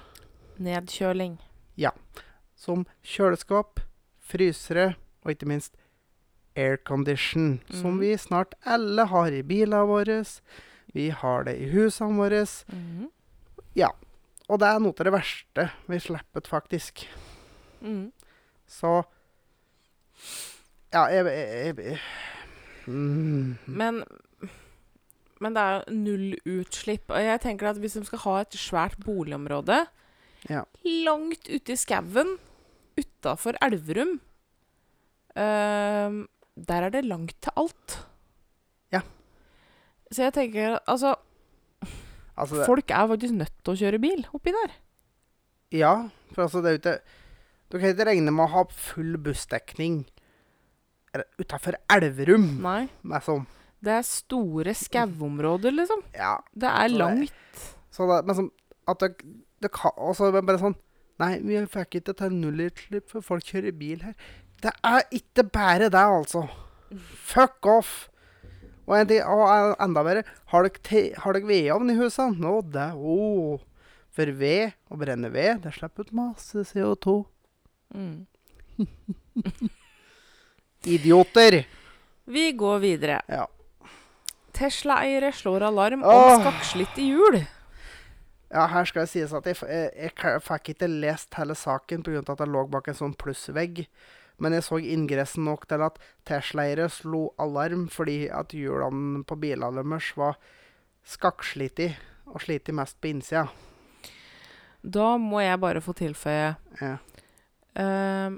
Nedkjøling.
som kjøleskap, frysere og ikke minst aircondition, som
Mhm.
vi snart alle har i bilene våre. Vi har det i husene våre.
Mm.
Og det er noe av det verste vi slipper ut, faktisk.
Mm.
Så Ja, jeg, jeg, jeg, jeg mm.
Men, men det er jo nullutslipp. Og jeg tenker at hvis de skal ha et svært boligområde
Ja.
langt ute i skauen utafor Elverum ehm, Der er det langt til alt.
Ja.
Så jeg tenker Altså,
Altså, det,
folk er faktisk nødt til å kjøre bil oppi der.
ja, for altså, det er jo ikke Du kan ikke regne med å ha full bussdekning utafor Elverum,
Nei.
liksom.
Det er store skauområder, liksom.
Ja,
Det er
Så det-
langt.
Så det, men sånn at det, det kan også er det bare sånn Nei, vi fikk ikke til nullutslipp, for folk kjører bil her. Det er ikke bare det, altså. Fuck off! Og, en ting, og en- enda verre, har dere, te- har dere vedovn i huset? Nå, det oh. For ved, å brenne ved, det slipper ut masse CO2.
Mm.
Idioter!
Vi går videre.
Ja.
Tesla-eiere slår alarm
Åh.
om skakslitt i hjul.
Ja, her skal det sies at jeg, f- jeg, jeg k- fikk ikke lest hele saken pga. at jeg lå bak en sånn plussvegg. Men jeg så inngressen nok til at Tesla-eiere slo alarm fordi at hjulene på bilene deres var skakkslitt i, og sliter mest på innsida.
Da må jeg bare få tilføye
Ja.
eh,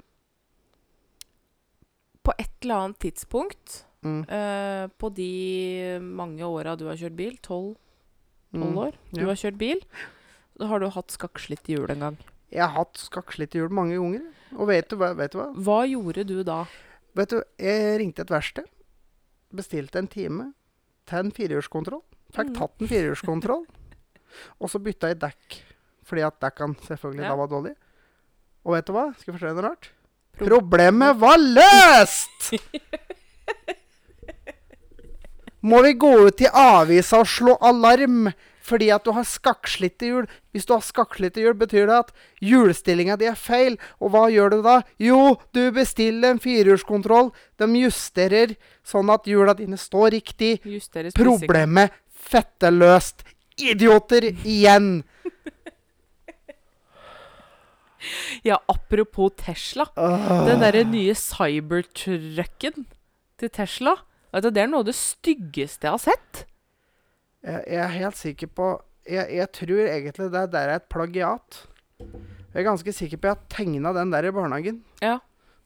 På et eller annet tidspunkt
Mm.
eh, på de mange åra du har kjørt bil, tolv
Mm.
år, du
ja.
har kjørt bil, da har du hatt skakkslitt hjul en gang.
Jeg har hatt skakkslitt i hjul mange ganger. Og vet du hva? Vet du, hva?
Hva gjorde du da?
Vet du, jeg ringte et verksted. Bestilte en time til en firehjulskontroll. Fikk
Mm.
tatt en firehjulskontroll. og så bytta jeg dekk, fordi at dekkene selvfølgelig
Ja.
da var dårlige. Og vet du hva? Skal jeg fortelle deg noe rart?
Pro-
Problemet var løst! Må vi gå ut i avisa og slå alarm fordi at du har skakkslitte hjul? Hvis du har skakkslitte hjul, betyr det at hjulstillinga di er feil. Og hva gjør du da? Jo, du bestiller en firehjulskontroll. De justerer sånn at hjula dine står riktig.
Justere spising.
Problemet fetteløst. Idioter igjen.
Ja, apropos Tesla.
Åh.
Den derre nye cybertrucken til Tesla. Vet du, det er noe av det styggeste jeg har sett.
Jeg, jeg er helt sikker på jeg, jeg tror egentlig det der er et plagiat. Jeg er ganske sikker på jeg har tegna den der i barnehagen.
Ja.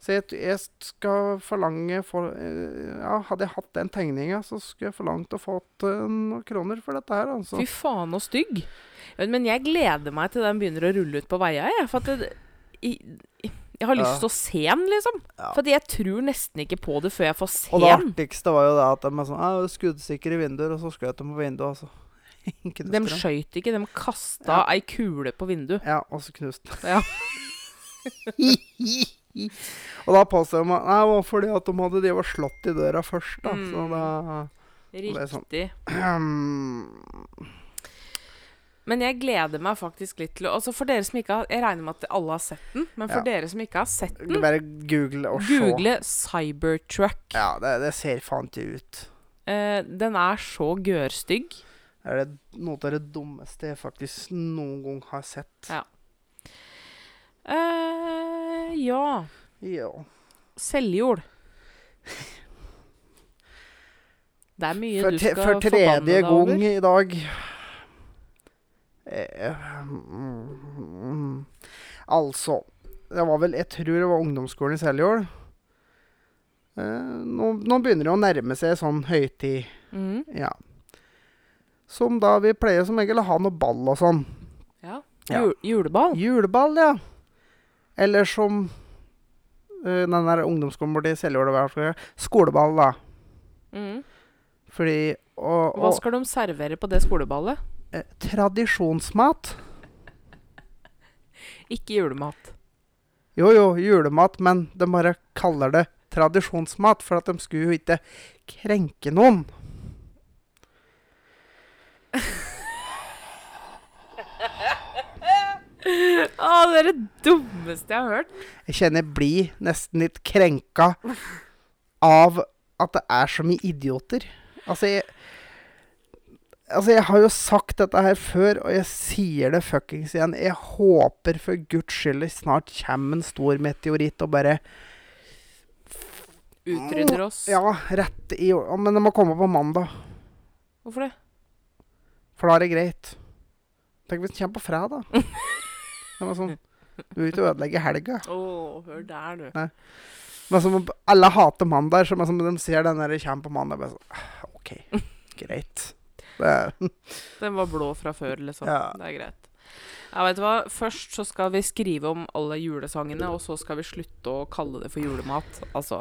Så jeg, t- jeg skal forlange for, eh, ja, Hadde jeg hatt den tegninga, så skulle jeg forlangt å fått eh, noen kroner for dette her. Altså.
Fy faen og stygg. Ja, Men jeg gleder meg til den begynner å rulle ut på veia, jeg. For at det, i, i- jeg har
Ja.
lyst til å se den, liksom.
Ja.
For at jeg tror nesten ikke på det før jeg får se
Og det
den.
artigste var jo det at de er sånn «Ja, skuddsikre vinduer, og så skjøt de på vinduet, altså. Ikke
De
nøtter dem.
skøyt ikke, de kasta
Ja.
ei kule på vinduet.
Ja, og så knuste den.
Ja.
og da påstår de at Nei, det var fordi at de hadde drevet og slått i døra først, da. Så
Mm.
da det er sant.
Riktig.
Ahem.
Men jeg gleder meg faktisk litt til å Altså for dere som ikke har Jeg regner med at alle har sett den, men for
Ja.
dere som ikke har sett
Du
den,
bare google og se.
google Cybertruck.
Ja, det, det ser faen ikke ut.
Eh, den er så gørstygg.
Det er det noe av det dummeste jeg faktisk noen gang har sett.
Ja. Eh, ja.
Ja.
Selvjord. Det er mye
For,
du
te,
skal
for
forbanne
tredje
deg over.
gang i dag eh, mm, Altså Det var vel Jeg tror det var ungdomsskolen i Seljord. Eh, nå, nå begynner det å nærme seg sånn høytid.
Mm,
Ja. Som da vi pleier som regel å ha noe ball og sånn.
ja.
Ja.
Jul juleball.
Juleball, ja. Eller som eh, den der ungdomsskolen borti Seljord og hva skal jeg- Skoleball, da.
Mm.
Fordi og,
Hva
og
skal de servere på det skoleballet?
eh, Tradisjonsmat.
Ikke julemat.
Jo jo, julemat, men de bare kaller det tradisjonsmat for at de skulle jo ikke krenke noen.
Å, det er det dummeste jeg har hørt.
Jeg kjenner jeg blir nesten litt krenka av at det er så mye idioter. Altså, jeg Altså, jeg har jo sagt dette her før, og jeg sier det fuckings igjen. Jeg håper for guds skyld det snart kommer en stor meteoritt og bare
Utrydder oss.
Ja, rett i jord- Men det må komme på mandag,
Hvorfor det?
for da er det greit. Tenk hvis den kommer på fredag. Det var sånn Du vil ikke ødelegge helga.
Å, hør der, du.
Men som om alle hater mandager, så men som de ser den der kommer på mandag bare sånn «Ah, OK, greit. Det,
Den var blå fra før, liksom.
Ja.
Det er greit. Ja, vet du hva? Først så skal vi skrive om alle julesangene, og så skal vi slutte å kalle det for julemat. Altså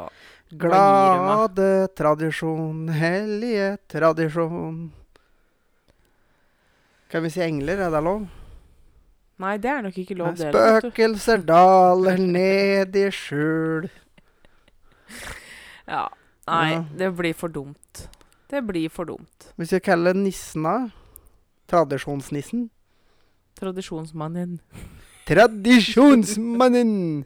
glade tradisjon, hellige tradisjon. Kan vi si engler? Er det lov?
Nei, det er nok ikke lov, det. heller, vet du.
Spøkelser daler ned i skjul.
Ja. Nei,
Ja.
det blir for dumt. Det blir for dumt.
Hvis vi kaller nissene tradisjonsnissen
Tradisjonsmannen.
Tradisjonsmannen!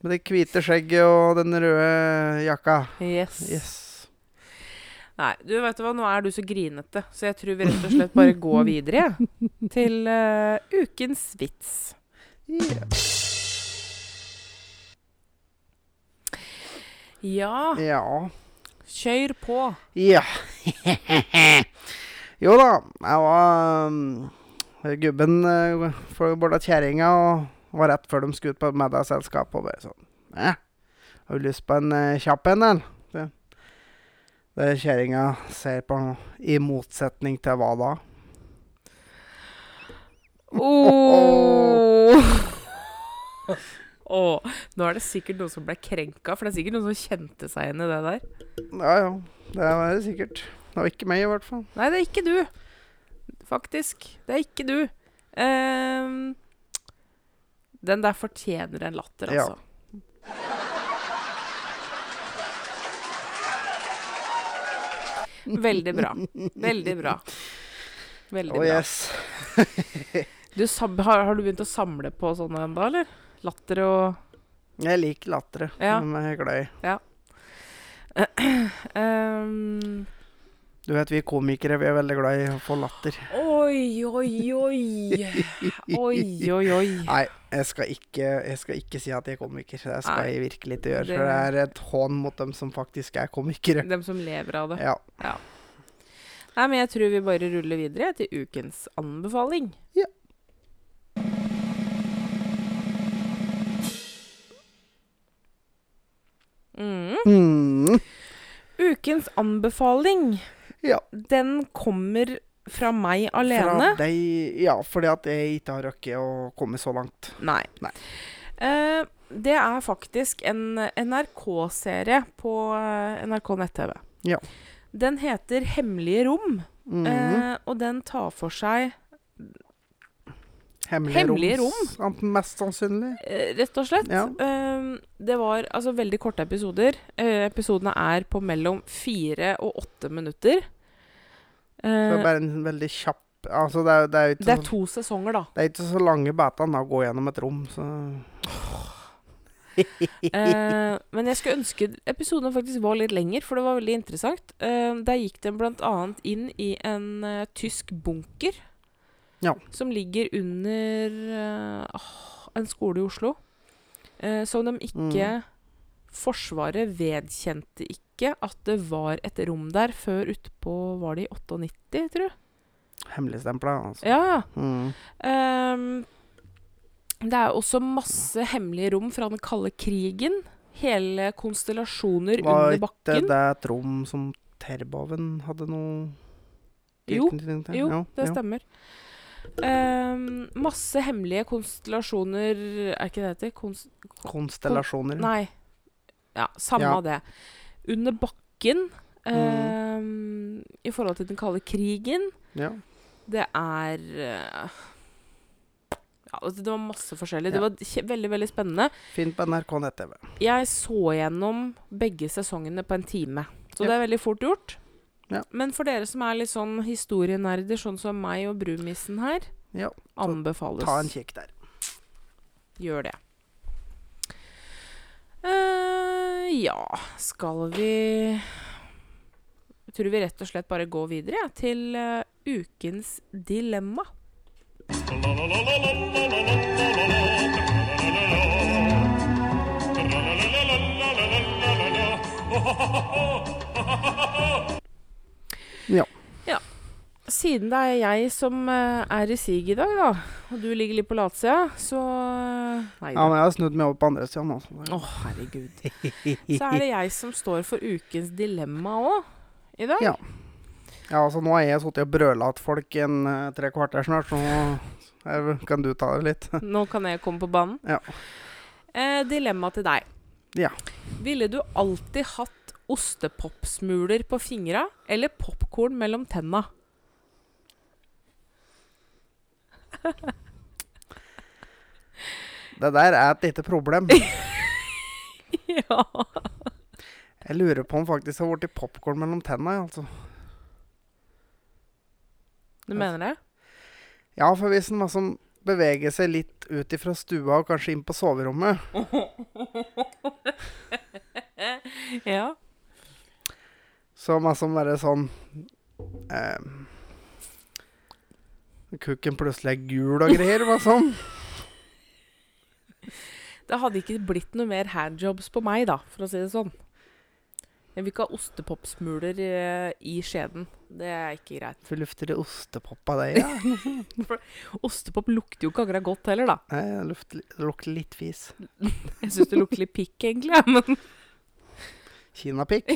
Med det hvite skjegget og den røde jakka.
Yes.
Yes.
Nei, du vet du hva, nå er du så grinete, så jeg tror vi rett og slett bare går videre, jeg. Til eh, ukens vits. Ja,
Ja.
kjør på.
Ja. Jo da, jeg var um, Gubben uh, for borda kjerringa og var rett før de skulle ut på middagsselskap og bare sånn eh, Har du lyst på en eh, kjapp en, eller? Det- Det kjerringa ser på nå, i motsetning til hva da?
Åh. Oh. Åh, Nå er det sikkert noen som ble krenka, for det er sikkert noen som kjente seg igjen i det der.
Ja ja, det var det sikkert. Det var ikke meg, i hvert fall.
Nei, det er ikke du. Faktisk. Det er ikke du. Ehm, den der fortjener en latter,
Ja.
altså. Veldig bra. Veldig bra. Veldig
Oh,
bra.
yes.
Du, sam- har, har du begynt å samle på sånne ennå, eller? Latter og
Jeg liker latteret.
Ja.
De er jeg glad i.
Ehm,
Du vet, vi komikere vi er veldig glad i å få latter.
Oi, oi, oi. Oi, oi, oi.
Nei, jeg skal ikke, jeg skal ikke si at jeg er komiker. Det skal
Nei.
jeg virkelig ikke gjøre.
Det-
For det er et hån mot dem som faktisk er komikere.
Dem som lever av det.
Ja.
Nei, men jeg tror vi bare ruller videre til ukens anbefaling.
Ja.
Mm.
Mm.
Ukens anbefaling,
ja.
den kommer fra meg
Fra
alene.
deg Ja, fordi at jeg ikke har rukket å komme så langt.
Nei.
Nei.
Eh, det er faktisk en NRK-serie på eh, NRK nett-TV.
Ja.
Den heter 'Hemmelige rom',
Mm.
eh, og den tar for seg
hemmelige,
hemmelige
rom. Rom. Mest sannsynlig.
Eh, rett og slett.
Ja.
Ehm, det var altså veldig korte episoder. Eh, episodene er på mellom fire og åtte minutter.
Det
Eh,
er bare en veldig kjapp Altså, det er, det er jo ikke,
det er
så,
to sesonger, da.
det er ikke så lange batene å gå gjennom et rom, så
Eh, men jeg skulle ønske episodene faktisk var litt lenger, for det var veldig interessant. Eh, der gikk den bl.a. inn i en eh, tysk bunker
Ja.
som ligger under eh, ah, en skole i Oslo. Eh, som de ikke Forsvaret vedkjente ikke at det var et rom der før utpå Var det i 98, tror jeg?
Hemmeligstempla, altså.
Ja, ja.
Mm.
Ehm, det er også masse hemmelige rom fra den kalde krigen. Hele konstellasjoner
Var
under
Det,
bakken.
det er et rom som Terboven hadde noe
Jo,
tilknytning til.
jo,
Ja,
det
ja.
stemmer. Ehm, masse hemmelige konstellasjoner Er ikke det det heter? Konst
Konstellasjoner.
nei. Ja, samme
Mm. Ja. Mm.
av det. Under bakken. ehm, I forhold til den kalde krigen.
Ja.
Det er eh, ja, altså, det det var masse forskjellig. Det
Ja.
var kje- veldig, veldig spennende.
Finn på NRK nett-TV.
Jeg så gjennom begge sesongene på en time. Så
Ja.
det er veldig fort gjort.
Ja.
Men for dere som er litt sånn historienerder, sånn som meg og brumissen her,
Ja,
anbefales.
Ta en kikk der.
Gjør det. eh ja, skal vi Jeg tror vi rett og slett bare går videre ja, til eh, ukens dilemma.
Ja.
Siden det er jeg som eh, er i siget i dag, da, og du ligger litt på latsida, så eh, Nei
ja, men jeg har snudd meg over på andre altså. sida nå. så det-
Å, herregud. Så er det jeg som står for ukens dilemma òg i dag.
Ja. Ja, altså Nå har jeg sittet og brøla til folk i en eh, tre kvarter snart, så nå eh, kan du ta det litt.
Nå kan jeg komme på banen.
Ja.
Eh, dilemma til deg.
Ja.
Ville du alltid hatt ostepopsmuler på fingra eller popkorn mellom tenna?
Det der er et lite problem.
ja.
Jeg lurer på om faktisk har blitt popkorn mellom tenna. jeg, Altså.
Du mener det?
Ja, for hvis en liksom beveger seg litt ut ifra stua og kanskje inn på soverommet,
Ja.
så liksom bare sånn eh, Kukken plutselig er gul og greier, hva sånn?
Det hadde ikke blitt noe mer handjobs på meg, da, for å si det sånn. Jeg vil ikke ha ostepopsmuler eh, i skjeden. Det er ikke greit.
lufter litt ostepop av deg, ja.
Ostepop lukter jo ikke akkurat godt heller, da.
Nei, det lukter, det lukter litt fis.
Jeg syns det lukter litt pikk, egentlig. ja, Men
Kinapikk.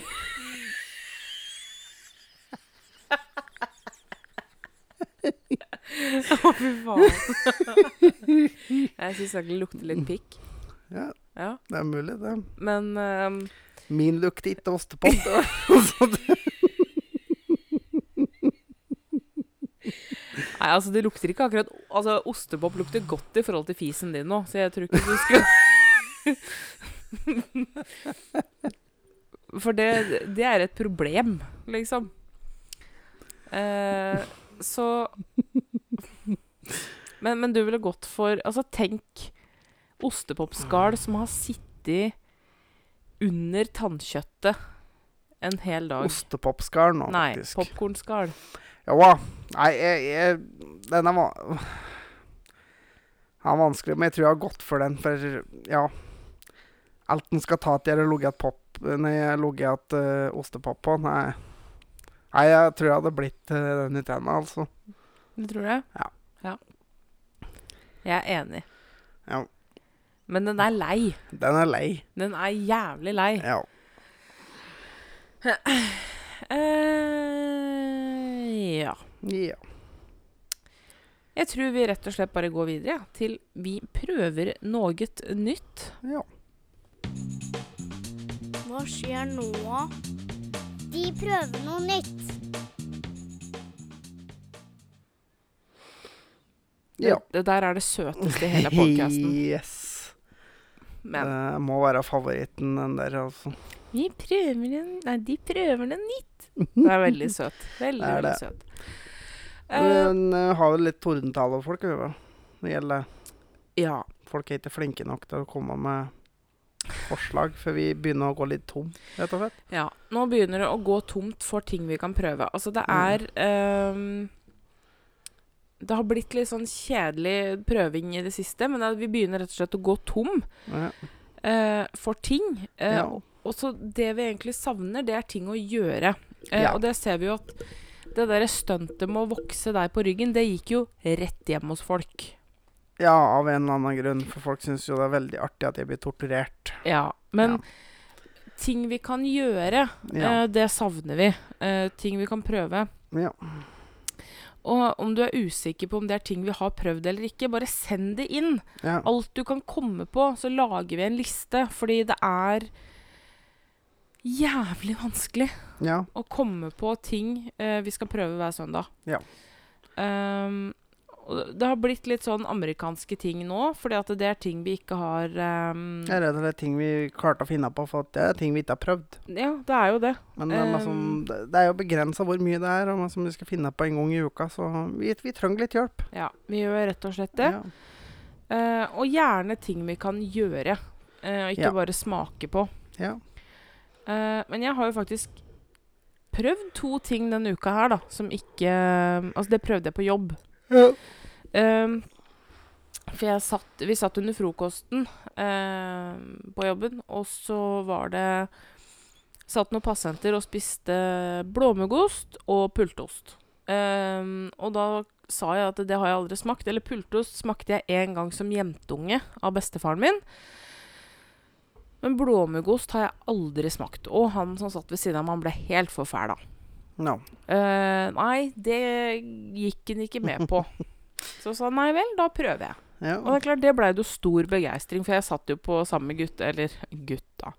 å, fy faen. Jeg syns det lukter litt pikk.
Ja,
Ja.
det er mulig, det.
Men ehm,
Min lukter ikke ostepop. det.
Nei, altså det lukter ikke akkurat Altså, ostepop lukter godt i forhold til fisen din nå, så jeg tror ikke du skulle For det, det er et problem, liksom. Eh, så men, men du ville gått for Altså, tenk ostepopskall som har sittet under tannkjøttet en hel dag.
Ostepopskall nå,
Nei,
faktisk.
popkornskall.
Jo da. Nei, jeg, jeg Den er, va- Den er vanskelig, men jeg tror jeg har gått for den, for ja Alt den skal ta til jeg har ligget pop Nei, jeg har ligget uh, ostepop på. Nei. Nei, jeg tror jeg hadde blitt eh, den i tenna, altså.
Du tror det?
Ja.
ja. Jeg er enig.
Ja.
Men den er lei.
Den er lei.
Den er jævlig lei.
Ja.
Eh, ja.
ja.
Jeg tror vi rett og slett bare går videre ja, til vi prøver noe nytt.
ja.
Hva skjer nå? De prøver noe nytt.
Ja.
Det der er det søteste i hele podkasten.
Yes.
Men
Det må være favoritten, den der, altså.
vi prøver den Nei, de prøver den nytt. Det er veldig søt. Veldig,
Det er
veldig
det.
søt. Eh,
Men eh, har vel litt tordentale folk, vi, vel. Det gjelder
ja.
folk er ikke flinke nok til å komme med forslag, for vi begynner å gå litt tom, rett og slett.
Ja, nå begynner det å gå tomt for ting vi kan prøve. Altså, det
Mm.
er ehm, Det har blitt litt sånn kjedelig prøving i det siste, men det er at vi begynner rett og slett å gå tom
Ja.
eh, for ting. Eh,
Ja.
Og så det vi egentlig savner, det er ting å gjøre. Eh,
Ja.
Og det ser vi jo at det derre stuntet med å vokse deg på ryggen, det gikk jo rett hjem hos folk.
ja, av en eller annen grunn, for folk syns jo det er veldig artig at jeg blir torturert.
Ja, men ting vi kan gjøre,
Ja.
eh, det savner vi. Eh, ting vi kan prøve.
ja.
Og om du er usikker på om det er ting vi har prøvd eller ikke, bare send det inn.
ja. ja.
Alt du kan komme på, så lager vi en liste. Fordi det er jævlig vanskelig
ja.
å komme på ting eh, vi skal prøve hver søndag.
Ja.
Ehm, og det har blitt litt sånn amerikanske ting nå, fordi at det er ting vi ikke har ehm,
Jeg er redd det er ting vi klarte å finne på, for at det er ting vi ikke har prøvd.
Ja, det er jo det.
Men det er, liksom,
Um.
det det er jo begrensa hvor mye det er, og som vi skal finne på en gang i uka, så vi, vi trenger litt hjelp.
Ja, Vi gjør rett og slett det.
Ja.
Eh, og gjerne ting vi kan gjøre, eh, og ikke
Ja.
bare smake på.
Ja.
Eh, men jeg har jo faktisk prøvd to ting denne uka her, da, som ikke Altså, det prøvde jeg på jobb.
Ja.
Ehm, for jeg satt Vi satt under frokosten ehm, på jobben, og så var det Satt noen pasienter og spiste blåmuggost og pultost. Ehm, og da sa jeg at det har jeg aldri smakt. Eller pultost smakte jeg en gang som jentunge av bestefaren min. Men blåmuggost har jeg aldri smakt. Og han som satt ved siden av meg, han ble helt forfæla.
No.
Eh, nei, det gikk han ikke med på. Så sa han nei vel, da prøver jeg.
Ja.
Og det er klart, det blei det jo stor begeistring, for jeg satt jo på samme gutt, eller gutta.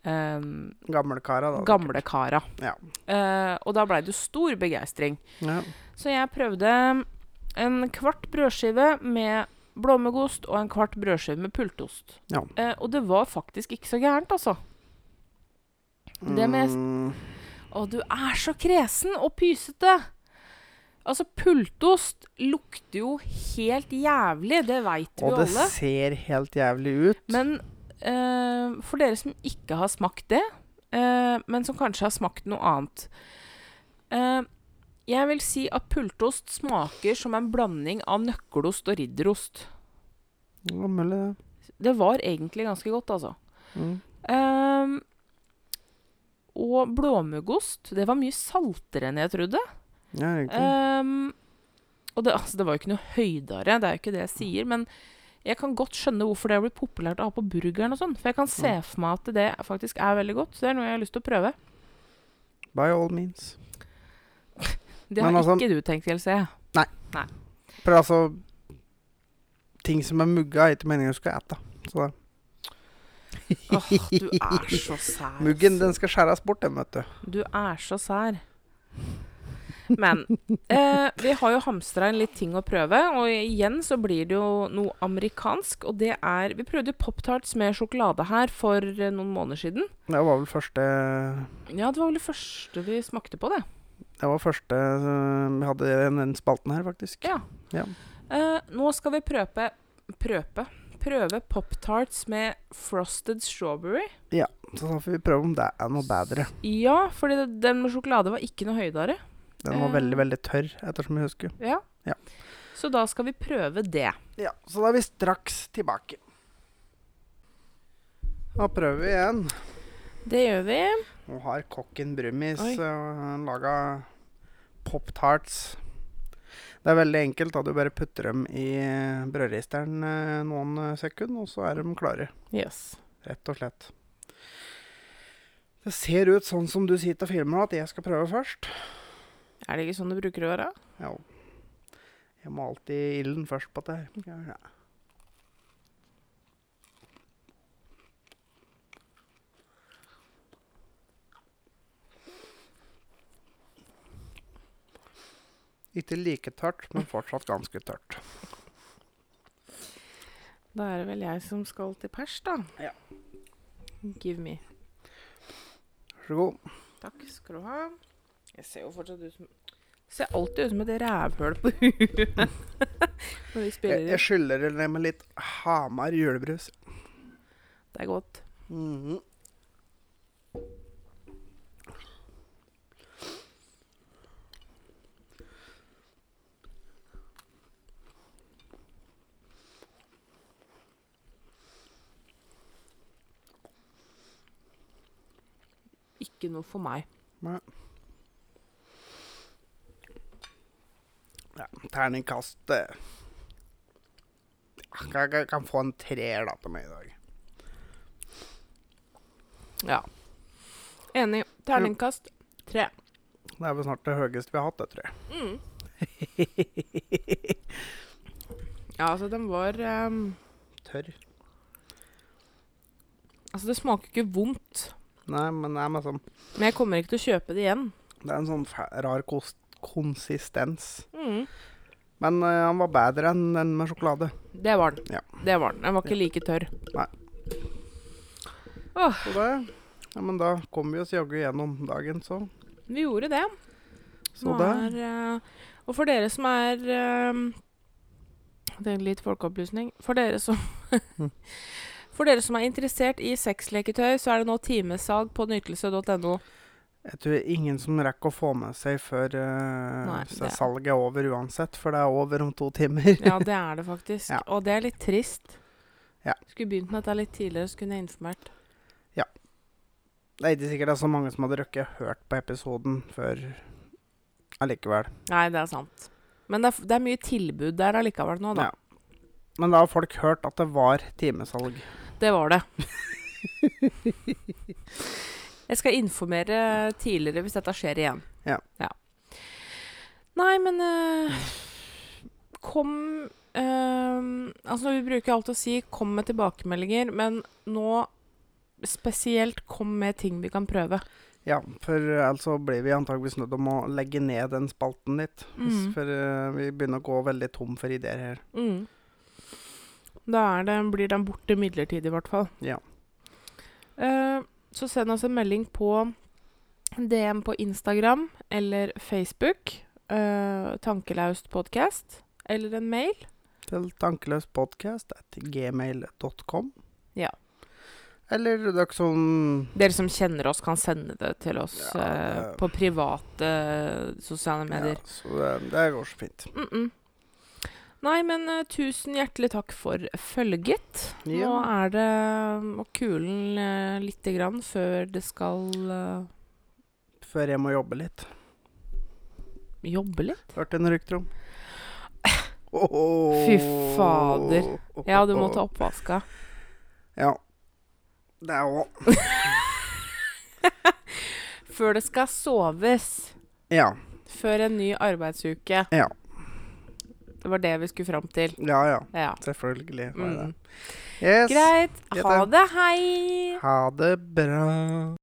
Um,
Gamlekara, da.
gamle kara.
Ja.
Eh, og da blei det jo stor begeistring.
Ja.
Så jeg prøvde en kvart brødskive med blåmuggost og en kvart brødskive med pultost.
Ja.
Eh, og det var faktisk ikke så gærent, altså. Det må jeg s-
Mm.
Å, du er så kresen og pysete! Altså, pultost lukter jo helt jævlig, det veit vi
Og
jo
det
alle.
ser helt jævlig ut.
Men eh, for dere som ikke har smakt det, eh, men som kanskje har smakt noe annet eh, Jeg vil si at pultost smaker som en blanding av nøkkelost og ridderost.
Det var mulig, det.
Det var egentlig ganske godt, altså.
Mm.
Ehm, og blåmuggost. Det var mye saltere enn jeg trodde.
Ja, egentlig.
Ehm, og det, altså, det var jo ikke noe høydere, det er jo ikke det jeg sier, men jeg kan godt skjønne hvorfor det har blitt populært å ha på burgeren og sånn. For jeg kan se
Mm.
for meg at det faktisk er veldig godt. Så det er noe jeg har lyst til å prøve.
By all means.
Det har
Men altså-
ikke du tenkt, Else.
For altså Ting som er mugga, er ikke meningen du skal ete. Så det.
Åh, du er så sær.
Muggen, den skal skjæres bort, den, vet du.
Du er så sær. Men eh, vi har jo hamstra inn litt ting å prøve, og igjen så blir det jo noe amerikansk. Og det er Vi prøvde Pop-Tarts med sjokolade her for eh, noen måneder siden.
Det var vel første
Ja, det var vel det første vi smakte på, det.
Det var første øh, vi hadde i den spalten her, faktisk.
Ja. Eh, nå skal vi prøve Prøve Prøve Pop-Tarts med frosted strawberry.
Så da får vi prøve om det er noe bedre.
Ja, fordi det- den med sjokolade var ikke noe høydere.
Den var
Eh.
veldig, veldig tørr, ettersom jeg husker.
Ja.
Ja.
Så da skal vi prøve det.
Ja, så da er vi straks tilbake. Da prøver vi igjen.
Det gjør vi.
Nå har kokken Brumis
Oi.
eh, laga pop-tarts. Det er veldig enkelt. da Du bare putter dem i brødristeren eh, noen eh, sekunder, og så er de klare.
Yes.
Rett og slett. Det ser ut sånn som du sitter og filmer nå, at jeg skal prøve først.
Er det ikke sånn det bruker å være?
Ja. Jeg må alltid ilden først på det her. Ja. Ikke like tørt, men fortsatt ganske tørt.
Da er det vel jeg som skal til pers, da.
Ja.
Give me.
Vær så god.
Takk skal du ha. Jeg ser jo fortsatt ut som Ser alltid ut som et rævhøl på huet når vi
Jeg,
spiller
jeg
inn.
skyller det med litt Hamar julebrus.
Det er godt.
Mhm.
Ikke noe for meg.
Ja, terningkast eh, jeg kan, kan, kan få en treer da på meg i dag.
Ja. Enig. Terningkast tre.
Det er vel snart det høyeste vi har hatt, det, tror jeg.
Ja, altså, den var ehm,
Tørr.
Altså, det smaker ikke vondt,
Nei, men det er, med sånn,
men jeg kommer ikke til å kjøpe det igjen.
det er en sånn fæ- rar kost, konsistens.
Mm.
Men eh, han var bedre enn den med sjokolade.
Det var den.
Ja.
Det var den. Den var ikke like tørr.
Så det, ja, men da kom vi oss jaggu gjennom dagen, så.
Vi gjorde det.
Så
Nå
det.
er, eh, og for dere som er eh, Det er litt folkeopplysning. For dere som For dere som er interessert i sexleketøy, så er det nå timesalg på nytelse.no.
Jeg tror ingen som rekker å få med seg før eh,
Nei,
så
det-
salget er over uansett, for det er over om to timer.
Ja, det er det faktisk.
Ja.
Og det er litt trist.
Ja.
Skulle begynt med dette litt tidligere, så kunne jeg informert.
Det er ikke sikkert det er så mange som hadde rukket å hørt på episoden før allikevel.
Nei, det er sant. Men det er, f- det er mye tilbud der allikevel nå, da.
Ja. Men da har folk hørt at det var timesalg.
Det var det. Jeg skal informere tidligere hvis dette skjer igjen.
Ja.
Nei, men eh, Kom eh, Altså, vi bruker alltid å si 'kom med tilbakemeldinger', men nå spesielt kom med ting vi kan prøve.
Ja, for eh, altså blir vi antageligvis nødt om å legge ned den spalten litt.
Mhm.
For eh, vi begynner å gå veldig tom for ideer her.
Mm. Da er det, blir den borte midlertidig, i hvert fall.
Ja.
Eh, så send oss en melding på DM på Instagram eller Facebook. eh, tankelaust podcast. Eller en mail.
Til tankeløspodcast.gmail.com.
Ja.
Eller dere som
Dere som kjenner oss, kan sende det til oss
Ja,
eh,
det-
på private eh, sosiale
ja,
medier.
Så eh, det, det går så fint.
Mm -mm. Nei, men eh, tusen hjertelig takk for følget. Nå um,
Ja.
er det å kulen uh, lite grann før det skal eh,
før jeg må jobbe litt.
Jobbe litt?
Hørte en rykter om.
Fy fader. Ja, du må ta oppvaska.
Ja. Det er òg
Før det skal soves.
Ja.
Før en ny arbeidsuke.
Ja.
Det var det vi skulle fram til.
Ja, ja.
Ja.
Selvfølgelig. var
Mm.
det det. Yes.
Greit.
Greit,
Ha
det.
det. Hei.
Ha det bra.